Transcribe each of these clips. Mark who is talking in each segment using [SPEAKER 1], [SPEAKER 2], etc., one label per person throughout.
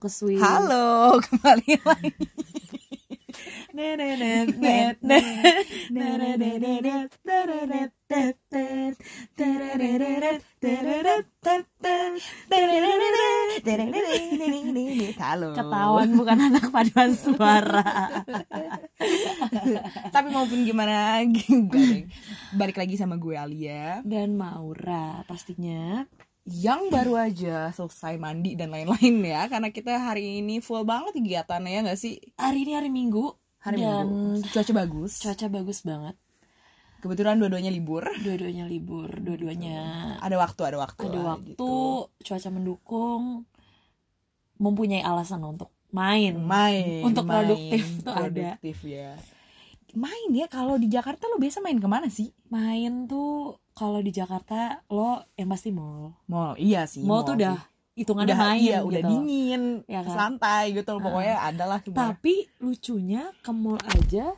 [SPEAKER 1] ke Swiss.
[SPEAKER 2] Halo, kembali lagi.
[SPEAKER 1] Nenenet, net, net. Nenenenet, terenet, tet, tet. Tererenet, tereret, tet, tet. Tererenet, tereret.
[SPEAKER 2] Halo.
[SPEAKER 1] Ketahuan bukan anak paduan suara.
[SPEAKER 2] Tapi maupun gimana, enggak, Deng. balik lagi sama gue Alia
[SPEAKER 1] Dan Maura pastinya.
[SPEAKER 2] yang baru aja selesai mandi dan lain-lain ya karena kita hari ini full banget kegiatannya ya nggak sih
[SPEAKER 1] Hari ini hari Minggu
[SPEAKER 2] hari
[SPEAKER 1] dan
[SPEAKER 2] minggu cuaca bagus
[SPEAKER 1] cuaca bagus banget.
[SPEAKER 2] kebetulan dua-duanya libur
[SPEAKER 1] Dua-duanya libur, dua-duanya
[SPEAKER 2] ada waktu ada waktu
[SPEAKER 1] ada
[SPEAKER 2] lah,
[SPEAKER 1] waktu,
[SPEAKER 2] gitu.
[SPEAKER 1] cuaca mendukung, mempunyai alasan untuk main.
[SPEAKER 2] main
[SPEAKER 1] Untuk
[SPEAKER 2] main,
[SPEAKER 1] produktif tuh ada.
[SPEAKER 2] produktif ya main ya kalau di Jakarta lo biasa main kemana sih
[SPEAKER 1] Main tuh kalau di Jakarta lo yang pasti mall.
[SPEAKER 2] mall iya sih
[SPEAKER 1] Mall tuh udah hitungannya main
[SPEAKER 2] iya,
[SPEAKER 1] gitu.
[SPEAKER 2] udah dingin
[SPEAKER 1] Ya kan?
[SPEAKER 2] santai gitu loh pokoknya adalah semua
[SPEAKER 1] Tapi lucunya ke mall aja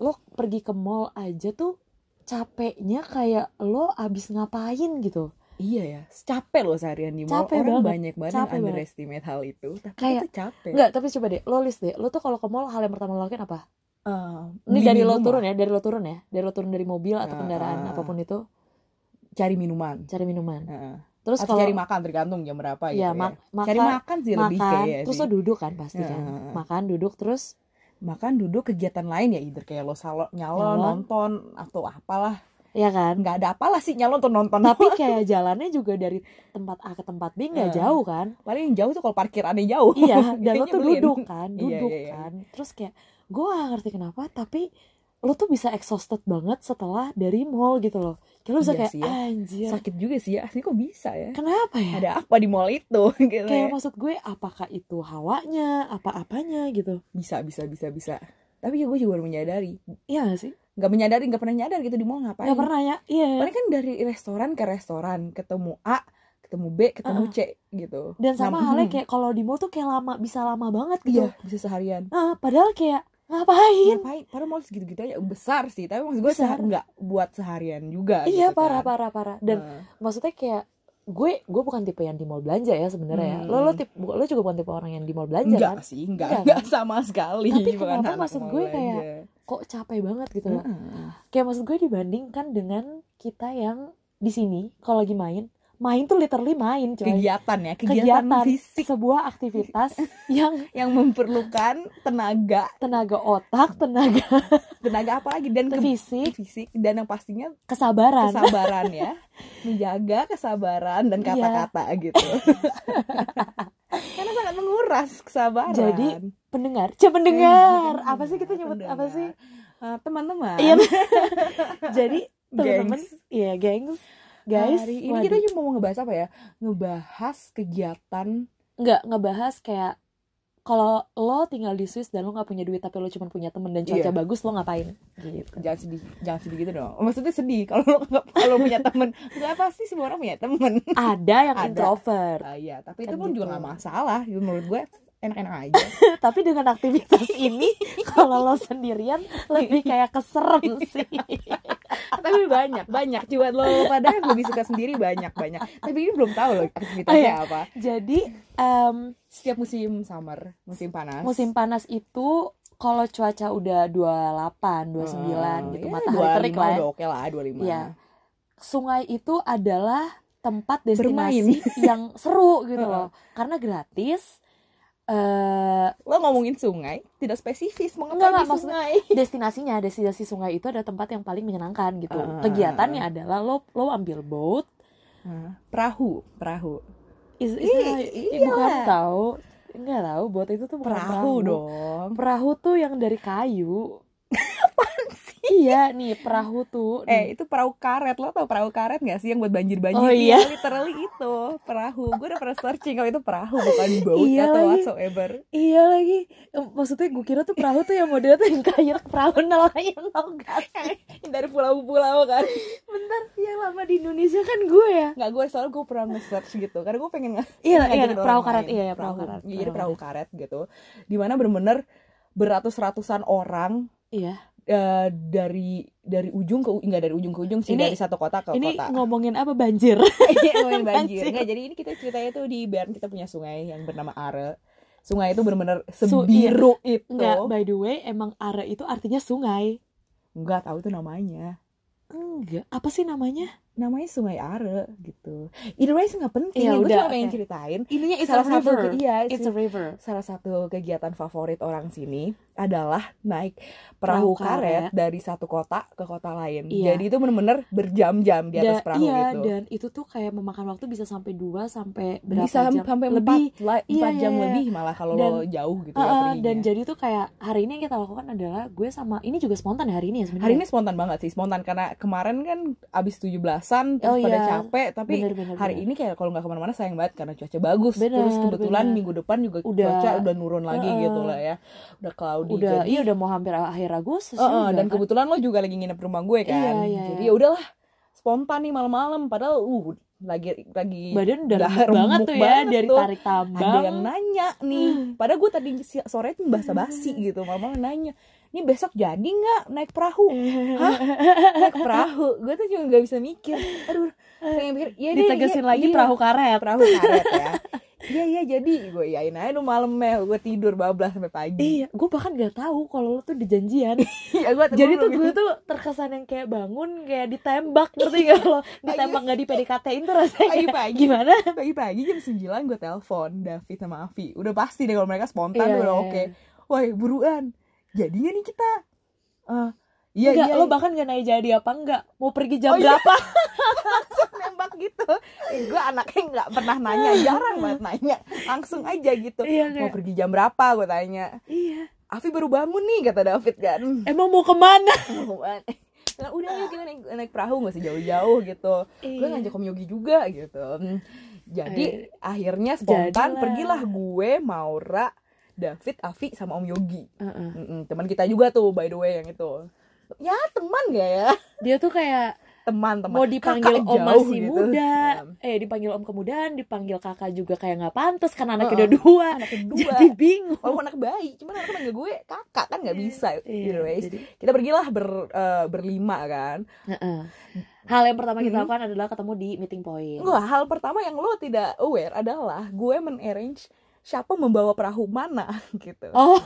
[SPEAKER 1] lo pergi ke mall aja tuh capeknya kayak lo abis ngapain gitu.
[SPEAKER 2] iya ya capek loh seharian di mall
[SPEAKER 1] Capek
[SPEAKER 2] orang
[SPEAKER 1] banget.
[SPEAKER 2] banyak banget
[SPEAKER 1] Capek
[SPEAKER 2] yang
[SPEAKER 1] banget.
[SPEAKER 2] underestimate hal itu tapi
[SPEAKER 1] Kayak,
[SPEAKER 2] itu capek
[SPEAKER 1] Enggak, tapi coba deh lo list deh. Lo tuh kalau ke mall hal yang pertama lo lakuin apa?
[SPEAKER 2] Eh,
[SPEAKER 1] Ini
[SPEAKER 2] beli
[SPEAKER 1] dari lo
[SPEAKER 2] minuman.
[SPEAKER 1] turun ya, dari lo turun ya. Dari lo turun dari mobil atau
[SPEAKER 2] Ah,
[SPEAKER 1] kendaraan
[SPEAKER 2] ah, ah.
[SPEAKER 1] apapun itu
[SPEAKER 2] cari minuman
[SPEAKER 1] cari minuman.
[SPEAKER 2] Heeh.
[SPEAKER 1] Terus
[SPEAKER 2] atau
[SPEAKER 1] kalau
[SPEAKER 2] cari makan tergantung jam berapa gitu
[SPEAKER 1] ya,
[SPEAKER 2] ya,
[SPEAKER 1] mak- makan,
[SPEAKER 2] cari makan sih lebih
[SPEAKER 1] makan,
[SPEAKER 2] kayak
[SPEAKER 1] terus
[SPEAKER 2] sih. Ah,
[SPEAKER 1] lo duduk kan pasti kan.
[SPEAKER 2] Heeh, heeh.
[SPEAKER 1] Makan, duduk terus
[SPEAKER 2] makan duduk kegiatan lain ya either kayak lo salon nyalon
[SPEAKER 1] Nyalon.
[SPEAKER 2] nonton atau apalah
[SPEAKER 1] ya kan.
[SPEAKER 2] nggak ada apalah sih nyalon tuh nonton
[SPEAKER 1] tapi kayak jalannya juga dari tempat A ke tempat B nggak
[SPEAKER 2] Iya.
[SPEAKER 1] jauh kan
[SPEAKER 2] paling yang jauh tuh kalau parkirannya jauh
[SPEAKER 1] iya dan lo
[SPEAKER 2] Kayaknya
[SPEAKER 1] tuh
[SPEAKER 2] beliin.
[SPEAKER 1] duduk kan
[SPEAKER 2] Iya,
[SPEAKER 1] duduk
[SPEAKER 2] iya, iya.
[SPEAKER 1] kan terus kayak gue gak ngerti kenapa tapi lo tuh bisa exhausted banget setelah dari mall gitu loh kayak lo bisa
[SPEAKER 2] Iya
[SPEAKER 1] kayak
[SPEAKER 2] sih ya.
[SPEAKER 1] anjir
[SPEAKER 2] sakit juga sih ya ini kok bisa ya
[SPEAKER 1] kenapa ya
[SPEAKER 2] ada apa di mall itu gitu
[SPEAKER 1] kayak
[SPEAKER 2] ya.
[SPEAKER 1] maksud gue apakah itu hawanya apa-apanya gitu
[SPEAKER 2] bisa bisa bisa bisa tapi ya gue juga baru menyadari
[SPEAKER 1] iya gak sih
[SPEAKER 2] nggak menyadari nggak pernah nyadar gitu di mall ngapain
[SPEAKER 1] nggak pernah ya iya
[SPEAKER 2] paling kan dari restoran ke restoran ketemu A ketemu B ketemu C gitu
[SPEAKER 1] dan sama
[SPEAKER 2] Nah,
[SPEAKER 1] halnya
[SPEAKER 2] mm,
[SPEAKER 1] kayak kalau di mall tuh kayak lama bisa lama banget gitu
[SPEAKER 2] iya bisa seharian
[SPEAKER 1] Ah, padahal kayak ngapain
[SPEAKER 2] ngapain padahal mall segitu-gitu aja besar sih tapi maksud gue
[SPEAKER 1] Besar.
[SPEAKER 2] seha- nggak buat seharian juga
[SPEAKER 1] iya
[SPEAKER 2] gitu
[SPEAKER 1] parah
[SPEAKER 2] kan.
[SPEAKER 1] parah parah dan
[SPEAKER 2] Nah,
[SPEAKER 1] maksudnya kayak gue gue bukan tipe yang di mall belanja ya sebenarnya ya.
[SPEAKER 2] Hmm.
[SPEAKER 1] Lo lo tip- lo juga bukan tipe orang yang di mall belanja
[SPEAKER 2] enggak
[SPEAKER 1] kan.
[SPEAKER 2] sih
[SPEAKER 1] Enggak,
[SPEAKER 2] enggak enggak sama sekali
[SPEAKER 1] Tapi
[SPEAKER 2] bukan
[SPEAKER 1] kenapa
[SPEAKER 2] anak
[SPEAKER 1] maksud
[SPEAKER 2] mall
[SPEAKER 1] gue
[SPEAKER 2] aja.
[SPEAKER 1] kayak, Kok capek banget gitu loh.
[SPEAKER 2] Heeh.
[SPEAKER 1] Kayak maksud gue dibandingkan dengan kita yang di sini kalau lagi main, main tuh literally main coy.
[SPEAKER 2] kegiatan ya kegiatan, fisik
[SPEAKER 1] sebuah aktivitas yang
[SPEAKER 2] yang memperlukan tenaga
[SPEAKER 1] tenaga otak, tenaga
[SPEAKER 2] tenaga apa lagi dan ke-
[SPEAKER 1] fisik,
[SPEAKER 2] fisik dan yang pastinya
[SPEAKER 1] kesabaran.
[SPEAKER 2] kesabaran ya menjaga kesabaran dan
[SPEAKER 1] Iya.
[SPEAKER 2] kata-kata gitu karena sangat menguras kesabaran gitu kan.
[SPEAKER 1] Jadi, pendengar, coba pendengar. Apa sih kita nyebut apa
[SPEAKER 2] Iya, Pendengar.
[SPEAKER 1] sih?
[SPEAKER 2] Eh, teman-teman
[SPEAKER 1] Iya. Jadi teman-teman,
[SPEAKER 2] gengs,
[SPEAKER 1] iya, gengs. Guys,
[SPEAKER 2] hari ini
[SPEAKER 1] waduh.
[SPEAKER 2] kita cuma mau ngebahas apa ya ngebahas kegiatan
[SPEAKER 1] nggak ngebahas kayak kalau lo tinggal di Swiss dan lo nggak punya duit tapi lo cuma punya temen dan cuaca
[SPEAKER 2] Iya.
[SPEAKER 1] bagus lo ngapain gitu
[SPEAKER 2] jangan sedih jangan sedih gitu dong maksudnya sedih kalau lo nggak- kalau punya temen Maksudnya pasti semua orang punya temen
[SPEAKER 1] ada yang
[SPEAKER 2] Ada.
[SPEAKER 1] introvert
[SPEAKER 2] Ah, iya tapi
[SPEAKER 1] Kan
[SPEAKER 2] itu pun
[SPEAKER 1] gitu.
[SPEAKER 2] juga nggak masalah gitu menurut gue enak-enak aja
[SPEAKER 1] tapi dengan aktivitas ini kalau lo sendirian lebih kayak keserem sih
[SPEAKER 2] tapi banyak banyak cuman lo padahal yang lebih suka sendiri banyak banyak tapi ini belum tahu loh
[SPEAKER 1] Oh,
[SPEAKER 2] aktivitasnya
[SPEAKER 1] iya.
[SPEAKER 2] apa
[SPEAKER 1] jadi em,
[SPEAKER 2] setiap musim summer musim panas
[SPEAKER 1] musim panas itu kalau cuaca udah 28, 29 gitu
[SPEAKER 2] ya,
[SPEAKER 1] matahari terik
[SPEAKER 2] 25
[SPEAKER 1] lah ya.
[SPEAKER 2] udah oke lah 25
[SPEAKER 1] Iya. sungai itu adalah tempat destinasi
[SPEAKER 2] Bermain.
[SPEAKER 1] yang seru gitu loh karena gratis eh
[SPEAKER 2] lo ngomongin sungai tidak spesifis mau
[SPEAKER 1] Enggak,
[SPEAKER 2] ngapain
[SPEAKER 1] enggak,
[SPEAKER 2] di
[SPEAKER 1] maksudnya-
[SPEAKER 2] sungai
[SPEAKER 1] destinasinya destinasi sungai itu ada tempat yang paling menyenangkan gitu
[SPEAKER 2] Ah.
[SPEAKER 1] kegiatannya adalah lo lo ambil boat
[SPEAKER 2] perahu perahu
[SPEAKER 1] is, is
[SPEAKER 2] Ih,
[SPEAKER 1] that-
[SPEAKER 2] iya
[SPEAKER 1] bukan
[SPEAKER 2] lah.
[SPEAKER 1] tahu nggak tahu boat itu tuh bukan
[SPEAKER 2] perahu dong
[SPEAKER 1] perahu tuh yang dari kayu iya nih perahu tuh nih.
[SPEAKER 2] eh itu perahu karet lo tau perahu karet nggak sih yang buat banjir banjir
[SPEAKER 1] Hmm. Oh, iya.
[SPEAKER 2] literally itu perahu gue udah pernah searching kalau itu perahu bukan boat
[SPEAKER 1] Iya
[SPEAKER 2] atau
[SPEAKER 1] lagi.
[SPEAKER 2] whatsoever
[SPEAKER 1] iya lagi Em, maksudnya gue kira tuh perahu tuh yang modelnya tuh yang kayu perahu nelayan tau gak sih?
[SPEAKER 2] dari pulau-pulau kan
[SPEAKER 1] bentar yang lama di Indonesia kan gue ya
[SPEAKER 2] nggak gue soalnya gue pernah nge-search gitu karena gue pengen nge-
[SPEAKER 1] iya
[SPEAKER 2] ngajarin
[SPEAKER 1] iya
[SPEAKER 2] orang
[SPEAKER 1] perahu karet
[SPEAKER 2] lain.
[SPEAKER 1] iya iya, perahu karet
[SPEAKER 2] jadi perahu karet gitu dimana bener-bener beratus-ratusan orang
[SPEAKER 1] iya
[SPEAKER 2] eh, dari dari ujung ke enggak dari ujung ke ujung sih
[SPEAKER 1] Ini-
[SPEAKER 2] dari satu kota ke
[SPEAKER 1] ini
[SPEAKER 2] kota
[SPEAKER 1] ngomongin apa banjir
[SPEAKER 2] Iya, ngomongin banjir
[SPEAKER 1] Banjir.
[SPEAKER 2] Nggak, jadi ini kita ceritanya tuh di Bern kita punya sungai yang bernama Are sungai itu bener-bener
[SPEAKER 1] Su- iya.
[SPEAKER 2] sebiru itu
[SPEAKER 1] Enggak, by the way, emang are itu artinya sungai.
[SPEAKER 2] nggak tahu tuh namanya
[SPEAKER 1] Enggak, apa sih namanya?
[SPEAKER 2] namanya sungai are gitu either way sih nggak penting
[SPEAKER 1] Iya,
[SPEAKER 2] gue
[SPEAKER 1] udah,
[SPEAKER 2] cuma pengen
[SPEAKER 1] oke.
[SPEAKER 2] ceritain
[SPEAKER 1] Ininya
[SPEAKER 2] salah satu ke- iya
[SPEAKER 1] It's a river.
[SPEAKER 2] salah satu kegiatan favorit orang sini adalah naik
[SPEAKER 1] Perahu
[SPEAKER 2] perahu, karet,
[SPEAKER 1] karet.
[SPEAKER 2] dari satu kota ke kota lain.
[SPEAKER 1] Iya.
[SPEAKER 2] Jadi itu bener-bener berjam-jam di atas
[SPEAKER 1] Da-
[SPEAKER 2] perahu
[SPEAKER 1] iya,
[SPEAKER 2] itu.
[SPEAKER 1] dan itu tuh kayak memakan waktu bisa sampai 2 sampai berapa
[SPEAKER 2] Bisa
[SPEAKER 1] jam
[SPEAKER 2] sampai
[SPEAKER 1] lebih.
[SPEAKER 2] lebih 4,
[SPEAKER 1] Iya, iya,
[SPEAKER 2] jam
[SPEAKER 1] iya.
[SPEAKER 2] lebih malah kalau lo jauh gitu ya
[SPEAKER 1] Heeh,
[SPEAKER 2] perginya.
[SPEAKER 1] dan jadi tuh kayak hari ini yang kita lakukan adalah gue sama ini juga spontan hari ini ya sebenarnya.
[SPEAKER 2] Hari ini spontan banget sih, spontan karena kemarin kan abis 17-an
[SPEAKER 1] Oh,
[SPEAKER 2] terus pada
[SPEAKER 1] iya.
[SPEAKER 2] capek, tapi
[SPEAKER 1] bener, bener,
[SPEAKER 2] hari
[SPEAKER 1] bener.
[SPEAKER 2] ini kayak kalau nggak kemana-mana sayang banget karena cuaca bagus.
[SPEAKER 1] Bener,
[SPEAKER 2] terus kebetulan
[SPEAKER 1] bener.
[SPEAKER 2] minggu depan juga
[SPEAKER 1] Udah.
[SPEAKER 2] cuaca udah nurun lagi
[SPEAKER 1] Heeh.
[SPEAKER 2] gitu lah ya, udah cloudy.
[SPEAKER 1] udah
[SPEAKER 2] Jadi-
[SPEAKER 1] iya udah mau hampir akhir Agustus
[SPEAKER 2] Heeh,
[SPEAKER 1] juga,
[SPEAKER 2] dan
[SPEAKER 1] kan?
[SPEAKER 2] kebetulan lo juga lagi nginep di rumah gue kan.
[SPEAKER 1] Iya, iya,
[SPEAKER 2] Jadi
[SPEAKER 1] iya.
[SPEAKER 2] ya udahlah spontan nih malam-malam padahal uh lagi lagi
[SPEAKER 1] badan udah
[SPEAKER 2] Udah
[SPEAKER 1] remuk banget
[SPEAKER 2] remuk
[SPEAKER 1] tuh ya
[SPEAKER 2] banget
[SPEAKER 1] dari
[SPEAKER 2] tuh.
[SPEAKER 1] tarik tambang.
[SPEAKER 2] ada yang nanya nih. Padahal gue tadi si- sore tuh basa-basi
[SPEAKER 1] Iya.
[SPEAKER 2] gitu, malam-malam nanya. Ini besok jadi nggak naik perahu? Hah? Naik perahu? Gue tuh juga gak bisa mikir. Aduh, pengen mikir. Ya deh,
[SPEAKER 1] Ditegesin
[SPEAKER 2] ya,
[SPEAKER 1] lagi
[SPEAKER 2] iya,
[SPEAKER 1] perahu karet.
[SPEAKER 2] perahu karet ya. Iya iya jadi gue iyain aja lu malamnya gue tidur bablas sampai pagi.
[SPEAKER 1] Iya, gue bahkan gak tahu kalau lo tuh dijanjian.
[SPEAKER 2] Iya gue
[SPEAKER 1] Jadi tuh gue tuh terkesan yang kayak bangun kayak ditembak ngerti gak lo ditembak nggak di PDKT-in tuh rasanya kayak,
[SPEAKER 2] Pagi-pagi.
[SPEAKER 1] gimana?
[SPEAKER 2] pagi-pagi jam 9 gue telepon David sama Avi udah pasti deh kalau mereka spontan
[SPEAKER 1] Iya,
[SPEAKER 2] udah
[SPEAKER 1] iya,
[SPEAKER 2] oke woi buruan jadi nggak nih kita Eh, iya
[SPEAKER 1] Enggak,
[SPEAKER 2] iya
[SPEAKER 1] lo bahkan gak naik jadi apa enggak? Mau pergi jam
[SPEAKER 2] Oh, iya.
[SPEAKER 1] berapa?
[SPEAKER 2] langsung nembak gitu eh, gue anaknya nggak pernah nanya jarang banget nanya langsung aja gitu
[SPEAKER 1] Iya,
[SPEAKER 2] mau
[SPEAKER 1] kayak-
[SPEAKER 2] pergi jam berapa gue tanya
[SPEAKER 1] Iya.
[SPEAKER 2] Avi baru bangun nih kata David kan
[SPEAKER 1] Emang mau kemana?
[SPEAKER 2] Nah, udah yuk kita naik, naik perahu nggak usah jauh-jauh gitu
[SPEAKER 1] Iya.
[SPEAKER 2] gue ngajak Om Yogi juga gitu Hmm. jadi akhirnya spontan
[SPEAKER 1] Jadilah.
[SPEAKER 2] pergilah gue Maura David Avi sama Om Yogi
[SPEAKER 1] Heeh.
[SPEAKER 2] Mm-mm, teman kita juga tuh by the way yang itu ya teman gak ya
[SPEAKER 1] Dia tuh kayak
[SPEAKER 2] teman teman
[SPEAKER 1] mau dipanggil
[SPEAKER 2] Kakak
[SPEAKER 1] om
[SPEAKER 2] jauh
[SPEAKER 1] masih
[SPEAKER 2] gitu.
[SPEAKER 1] muda,
[SPEAKER 2] Nah,
[SPEAKER 1] eh dipanggil om kemudian, dipanggil kakak juga kayak nggak pantas karena
[SPEAKER 2] Heeh.
[SPEAKER 1] anaknya udah dua.
[SPEAKER 2] Nah, anak kedua
[SPEAKER 1] Jadi bingung.
[SPEAKER 2] walaupun anak bayi cuman anak manggil gue kakak kan nggak bisa
[SPEAKER 1] Iya,
[SPEAKER 2] either ways.
[SPEAKER 1] jadi-
[SPEAKER 2] kita pergilah ber eh, berlima kan
[SPEAKER 1] Heeh. Hal yang pertama kita
[SPEAKER 2] Mhm.
[SPEAKER 1] lakukan adalah ketemu di meeting point.
[SPEAKER 2] Enggak, hal pertama yang lo tidak aware adalah gue men-arrange siapa membawa perahu mana gitu
[SPEAKER 1] Oh,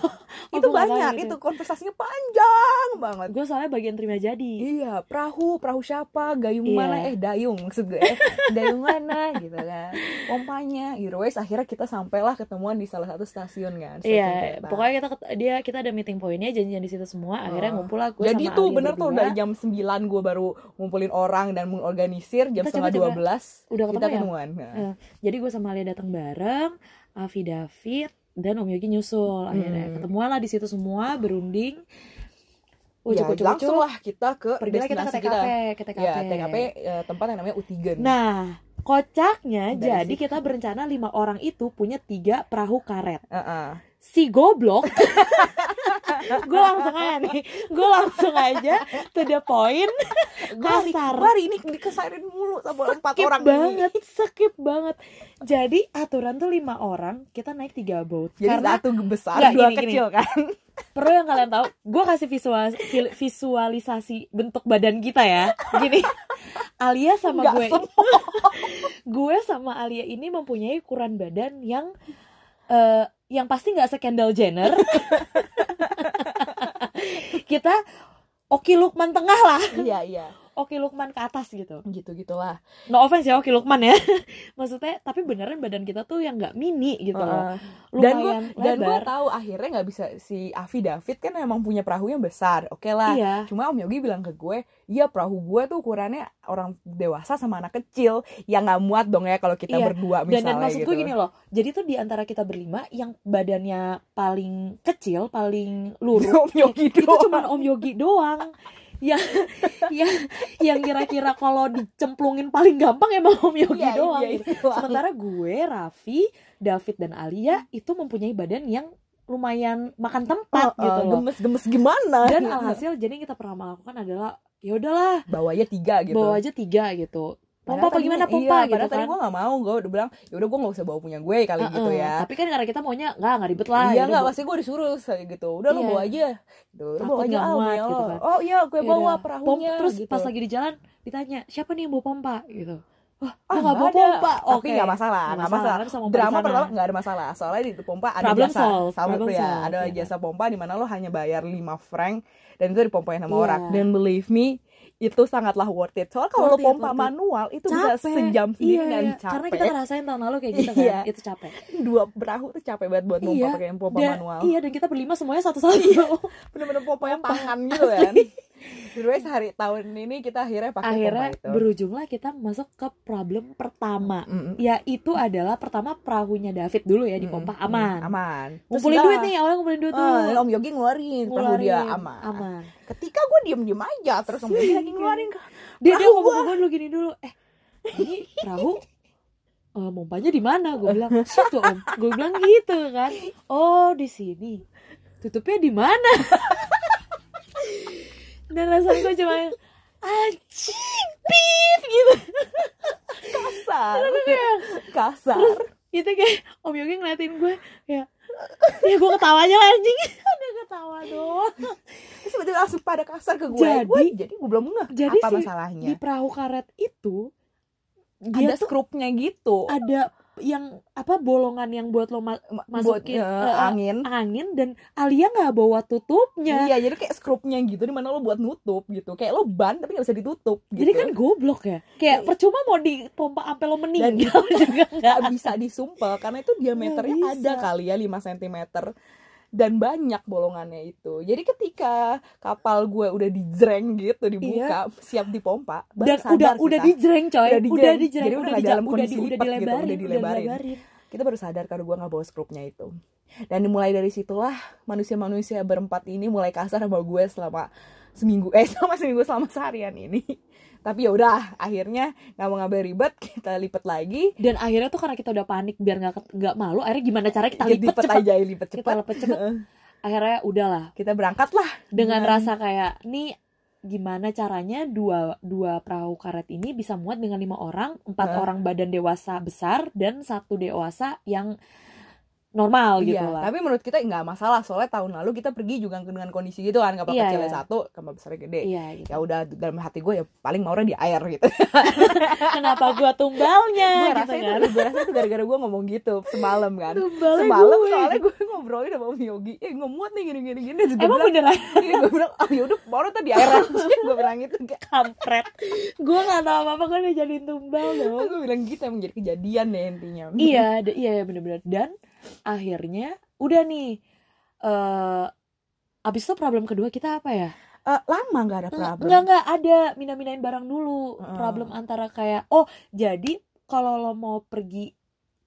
[SPEAKER 2] itu banyak itu konversasinya panjang banget
[SPEAKER 1] Gue soalnya bagian terima jadi.
[SPEAKER 2] Iya, perahu, perahu siapa, gayung
[SPEAKER 1] Iya.
[SPEAKER 2] mana, eh dayung maksud gue, eh, dayung mana gitu kan, pompanya, gitu. Wes, akhirnya kita sampailah ketemuan di salah satu stasiun kan. stasiun
[SPEAKER 1] Iya,
[SPEAKER 2] kereta.
[SPEAKER 1] pokoknya kita ket- dia kita ada meeting pointnya janjian di situ semua. Akhirnya
[SPEAKER 2] Oh.
[SPEAKER 1] ngumpul lah gue
[SPEAKER 2] Jadi
[SPEAKER 1] sama
[SPEAKER 2] tuh
[SPEAKER 1] Ali
[SPEAKER 2] bener tuh
[SPEAKER 1] berdua.
[SPEAKER 2] dari jam 9 gue baru ngumpulin orang dan mengorganisir jam
[SPEAKER 1] Kita
[SPEAKER 2] setengah
[SPEAKER 1] coba-coba.
[SPEAKER 2] 12
[SPEAKER 1] udah
[SPEAKER 2] kita
[SPEAKER 1] ketemu ya.
[SPEAKER 2] ketemuan. Nah,
[SPEAKER 1] Eh, Jadi gue sama Ali datang bareng, Avi David dan Om Yogi nyusul. Akhirnya
[SPEAKER 2] Hmm.
[SPEAKER 1] ketemuan lah di situ semua berunding.
[SPEAKER 2] ya,
[SPEAKER 1] Ucuk ucuk
[SPEAKER 2] langsung
[SPEAKER 1] ucuk.
[SPEAKER 2] lah kita ke
[SPEAKER 1] Pergilah kita ke
[SPEAKER 2] destinasi
[SPEAKER 1] TKP, ke TKP.
[SPEAKER 2] Ya, TKP eh, tempat yang namanya Utigen.
[SPEAKER 1] Nah, kocaknya
[SPEAKER 2] Dari
[SPEAKER 1] jadi
[SPEAKER 2] situ.
[SPEAKER 1] kita berencana lima orang itu punya tiga perahu karet.
[SPEAKER 2] Heeh.
[SPEAKER 1] si goblok gue langsung aja nih gue langsung aja to the point
[SPEAKER 2] Gue hari,
[SPEAKER 1] Kasar.
[SPEAKER 2] gua hari ini dikesarin mulu sama empat
[SPEAKER 1] skip
[SPEAKER 2] orang ini.
[SPEAKER 1] banget skip banget jadi aturan tuh lima orang kita naik tiga boat
[SPEAKER 2] Jadi
[SPEAKER 1] karena
[SPEAKER 2] satu besar,
[SPEAKER 1] Nggak,
[SPEAKER 2] dua
[SPEAKER 1] gini, gini.
[SPEAKER 2] kecil kan.
[SPEAKER 1] perlu yang kalian tahu gue kasih visual vil- visualisasi bentuk badan kita ya gini Alia sama
[SPEAKER 2] Nggak
[SPEAKER 1] gue
[SPEAKER 2] semua.
[SPEAKER 1] gue sama Alia ini mempunyai ukuran badan yang eh, yang pasti nggak sekendal Jenner kita Oki Lukman tengah lah
[SPEAKER 2] Iya, iya.
[SPEAKER 1] Oki Lukman ke atas gitu.
[SPEAKER 2] gitu gitulah
[SPEAKER 1] No offense ya Oki Lukman ya. Maksudnya tapi beneran badan kita tuh yang nggak mini gitu loh.
[SPEAKER 2] Heeh. dan gue
[SPEAKER 1] Lumayan
[SPEAKER 2] dan gue
[SPEAKER 1] lebar.
[SPEAKER 2] tahu akhirnya nggak bisa si Avi David kan emang punya perahu yang besar oke lah
[SPEAKER 1] Iya.
[SPEAKER 2] cuma Om Yogi bilang ke gue iya perahu gue tuh ukurannya orang dewasa sama anak kecil yang nggak muat dong ya kalau kita
[SPEAKER 1] Iya.
[SPEAKER 2] berdua
[SPEAKER 1] Dan,
[SPEAKER 2] misalnya
[SPEAKER 1] dan maksud
[SPEAKER 2] gitu
[SPEAKER 1] gue gini loh. Jadi tuh di antara kita berlima yang badannya paling kecil, paling lurus
[SPEAKER 2] Om Yogi
[SPEAKER 1] itu
[SPEAKER 2] doang.
[SPEAKER 1] cuman Om Yogi doang. yang yang yang kira-kira kalau dicemplungin paling gampang emang Om Yogi
[SPEAKER 2] Iya,
[SPEAKER 1] doang.
[SPEAKER 2] iya,
[SPEAKER 1] gitu.
[SPEAKER 2] iya, doang.
[SPEAKER 1] Sementara gue, Raffi, David dan Alia itu mempunyai badan yang lumayan makan tempat
[SPEAKER 2] Heeh,
[SPEAKER 1] gitu loh.
[SPEAKER 2] gemes gemes gimana
[SPEAKER 1] dan
[SPEAKER 2] Gitu.
[SPEAKER 1] alhasil jadi yang kita pernah melakukan adalah ya udahlah
[SPEAKER 2] bawanya tiga gitu
[SPEAKER 1] bawa aja tiga gitu pompa
[SPEAKER 2] Padahal
[SPEAKER 1] apa
[SPEAKER 2] tadi
[SPEAKER 1] gimana
[SPEAKER 2] gua-
[SPEAKER 1] pompa
[SPEAKER 2] iya,
[SPEAKER 1] gitu
[SPEAKER 2] padahal tadi
[SPEAKER 1] kan
[SPEAKER 2] gue nggak mau gue udah bilang ya udah gue nggak usah bawa punya gue kali
[SPEAKER 1] Heeh,
[SPEAKER 2] gitu ya
[SPEAKER 1] tapi kan karena kita maunya nggak nggak ribet lah gitu
[SPEAKER 2] iya
[SPEAKER 1] yaudah,
[SPEAKER 2] nggak
[SPEAKER 1] bawa-
[SPEAKER 2] pasti gue disuruh kayak gitu udah lo
[SPEAKER 1] Iya.
[SPEAKER 2] bawa aja Gitu, lo
[SPEAKER 1] Takut
[SPEAKER 2] bawa aja
[SPEAKER 1] nggak
[SPEAKER 2] Al,
[SPEAKER 1] muat
[SPEAKER 2] punya
[SPEAKER 1] gitu
[SPEAKER 2] lo.
[SPEAKER 1] kan.
[SPEAKER 2] oh iya gue bawa
[SPEAKER 1] yaudah. Pom-
[SPEAKER 2] perahunya
[SPEAKER 1] terus
[SPEAKER 2] gitu.
[SPEAKER 1] pas lagi di jalan ditanya siapa nih yang bawa pompa gitu Wah,
[SPEAKER 2] Ah,
[SPEAKER 1] nggak bawa
[SPEAKER 2] nggak ada.
[SPEAKER 1] pompa.
[SPEAKER 2] Tapi
[SPEAKER 1] Oke.
[SPEAKER 2] nggak masalah,
[SPEAKER 1] Nggak
[SPEAKER 2] nggak masalah.
[SPEAKER 1] tapi sama
[SPEAKER 2] Drama
[SPEAKER 1] perusahaan.
[SPEAKER 2] pertama nggak ada masalah. Soalnya di pompa ada
[SPEAKER 1] Problem
[SPEAKER 2] jasa
[SPEAKER 1] solved,
[SPEAKER 2] sama
[SPEAKER 1] problem
[SPEAKER 2] ya,
[SPEAKER 1] solved,
[SPEAKER 2] ada
[SPEAKER 1] iya.
[SPEAKER 2] jasa pompa di mana lo hanya bayar 5 franc dan itu dipompain sama
[SPEAKER 1] Iya.
[SPEAKER 2] orang. Dan believe me, itu sangatlah worth it. Soalnya kalau lo
[SPEAKER 1] Worth it,
[SPEAKER 2] pompa
[SPEAKER 1] worth it.
[SPEAKER 2] manual itu
[SPEAKER 1] capek.
[SPEAKER 2] bisa sejam sendiri
[SPEAKER 1] Iya,
[SPEAKER 2] dan
[SPEAKER 1] iya.
[SPEAKER 2] capek.
[SPEAKER 1] Karena kita ngerasain tahun lalu kayak gitu
[SPEAKER 2] Iya.
[SPEAKER 1] kan. Itu capek.
[SPEAKER 2] dua perahu tuh capek banget buat pompa
[SPEAKER 1] Iya,
[SPEAKER 2] pakai pompa
[SPEAKER 1] Dan-
[SPEAKER 2] manual. Iya.
[SPEAKER 1] Iya, dan kita berlima semuanya satu-satu.
[SPEAKER 2] Bener-bener pompa yang tangan gitu kan. Terus hari tahun ini kita akhirnya pakai
[SPEAKER 1] Akhirnya
[SPEAKER 2] pompa itu.
[SPEAKER 1] berujunglah kita masuk ke problem pertama.
[SPEAKER 2] Mm-mm.
[SPEAKER 1] Yaitu adalah pertama perahunya David dulu ya di Iya, pompa
[SPEAKER 2] Mm-mm.
[SPEAKER 1] aman.
[SPEAKER 2] Aman. Terus
[SPEAKER 1] Ngumpulin
[SPEAKER 2] kita-
[SPEAKER 1] duit nih, awalnya ngumpulin duit dulu.
[SPEAKER 2] Eh, Om Yogi ngeluarin, perahu dia
[SPEAKER 1] Ngeluarin.
[SPEAKER 2] aman.
[SPEAKER 1] Aman.
[SPEAKER 2] Ketika gue diem-diem aja terus Om Yogi lagi ngeluarin
[SPEAKER 1] Dia dia
[SPEAKER 2] Perahu
[SPEAKER 1] ngomong ke gue dulu gini dulu. Eh, ini perahu eh, pompanya di mana? Gue bilang, situ om. Gue bilang gitu kan. Oh, di sini. Tutupnya di mana? Dan rasanya gue cuma yang, anjing, pip, gitu.
[SPEAKER 2] kasar. kasar.
[SPEAKER 1] itu Gitu kayak Om Yogi ngeliatin gue ya ya gue ketawanya lah anjing ada ketawa doang
[SPEAKER 2] Terus tiba-tiba langsung pada kasar ke gue.
[SPEAKER 1] Jadi-
[SPEAKER 2] Gue- jadi gue belum ngeh
[SPEAKER 1] jadi
[SPEAKER 2] apa
[SPEAKER 1] si-
[SPEAKER 2] masalahnya.
[SPEAKER 1] di perahu karet itu
[SPEAKER 2] ada
[SPEAKER 1] dia tuh
[SPEAKER 2] skrupnya gitu.
[SPEAKER 1] ada yang apa bolongan yang buat lo ma-
[SPEAKER 2] Ma-
[SPEAKER 1] masukin,
[SPEAKER 2] buat, eh,
[SPEAKER 1] eh,
[SPEAKER 2] angin.
[SPEAKER 1] angin dan Alia nggak bawa tutupnya
[SPEAKER 2] Iya, jadi kayak skrupnya gitu dimana lo buat nutup gitu. Kayak lo ban tapi nggak bisa ditutup gitu. Iya.
[SPEAKER 1] jadi kan goblok ya kayak percuma mau dipompa sampai lo
[SPEAKER 2] dan
[SPEAKER 1] meninggal
[SPEAKER 2] itu
[SPEAKER 1] juga nggak
[SPEAKER 2] nggak bisa disumpel karena itu diameternya
[SPEAKER 1] Nggak bisa.
[SPEAKER 2] ada kali ya 5 cm dan banyak bolongannya itu. Jadi ketika kapal gue udah dijreng gitu dibuka siap dipompa,
[SPEAKER 1] Iya. dan
[SPEAKER 2] baru
[SPEAKER 1] udah
[SPEAKER 2] sadar kita.
[SPEAKER 1] ulah udah dijreng coy
[SPEAKER 2] Udah
[SPEAKER 1] udah
[SPEAKER 2] dijreng.
[SPEAKER 1] dijreng
[SPEAKER 2] Jadi udah
[SPEAKER 1] udah
[SPEAKER 2] nggak
[SPEAKER 1] dijak-
[SPEAKER 2] dalam
[SPEAKER 1] udah,
[SPEAKER 2] kondisi
[SPEAKER 1] di, udah
[SPEAKER 2] lipat gitu, udah
[SPEAKER 1] dilebarin udah
[SPEAKER 2] dilebarin.
[SPEAKER 1] dilebarin
[SPEAKER 2] kita baru sadar kalau gue nggak bawa skrupnya itu. Dan mulai dari situlah manusia-manusia berempat ini mulai kasar sama gue selama seminggu eh selama seminggu selama seharian ini. Tapi ya udah, akhirnya nggak mau ngambil ribet, kita lipet lagi.
[SPEAKER 1] dan akhirnya tuh karena kita udah panik biar nggak ket- nggak malu akhirnya gimana cara kita
[SPEAKER 2] Kita
[SPEAKER 1] lipet
[SPEAKER 2] lipet
[SPEAKER 1] cepet
[SPEAKER 2] aja, lipet
[SPEAKER 1] kita
[SPEAKER 2] cepet.
[SPEAKER 1] lepet cepet akhirnya udahlah
[SPEAKER 2] Kita berangkat lah.
[SPEAKER 1] dengan
[SPEAKER 2] Dengan-
[SPEAKER 1] rasa kayak nih gimana caranya dua dua perahu karet ini bisa muat dengan lima orang empat
[SPEAKER 2] Nah.
[SPEAKER 1] orang badan dewasa besar dan satu dewasa yang normal gitu
[SPEAKER 2] Iya,
[SPEAKER 1] lah
[SPEAKER 2] tapi menurut kita nggak masalah soalnya tahun lalu kita pergi juga dengan kondisi gitu kan kapal
[SPEAKER 1] Iya,
[SPEAKER 2] kecilnya
[SPEAKER 1] iya.
[SPEAKER 2] satu kapal besarnya gede
[SPEAKER 1] iya gitu.
[SPEAKER 2] ya udah dalam hati gue ya paling maurnya di air gitu
[SPEAKER 1] kenapa gua tumbalnya
[SPEAKER 2] gue
[SPEAKER 1] gitu
[SPEAKER 2] rasa itu
[SPEAKER 1] kan
[SPEAKER 2] gue rasa itu gara-gara gue ngomong gitu semalam kan
[SPEAKER 1] Tumbalnya
[SPEAKER 2] semalam
[SPEAKER 1] gue.
[SPEAKER 2] soalnya gue ngobrolin sama Om Yogi eh nggak muat nih gini gini gini
[SPEAKER 1] emang beneran
[SPEAKER 2] gue bilang ah yaudah maurnya tadi di air aja gue bilang gitu kayak
[SPEAKER 1] kampret gua nggak tahu apa apa gua udah jadiin tumbal dong
[SPEAKER 2] gue bilang gitu emang jadi kejadian deh intinya
[SPEAKER 1] iya da- iya iya, bener-bener dan akhirnya udah nih eh abis itu problem kedua kita apa ya
[SPEAKER 2] Eh, lama nggak ada problem
[SPEAKER 1] Enggak enggak ada mina-minain barang dulu
[SPEAKER 2] Heeh.
[SPEAKER 1] problem antara kayak oh jadi kalau lo mau pergi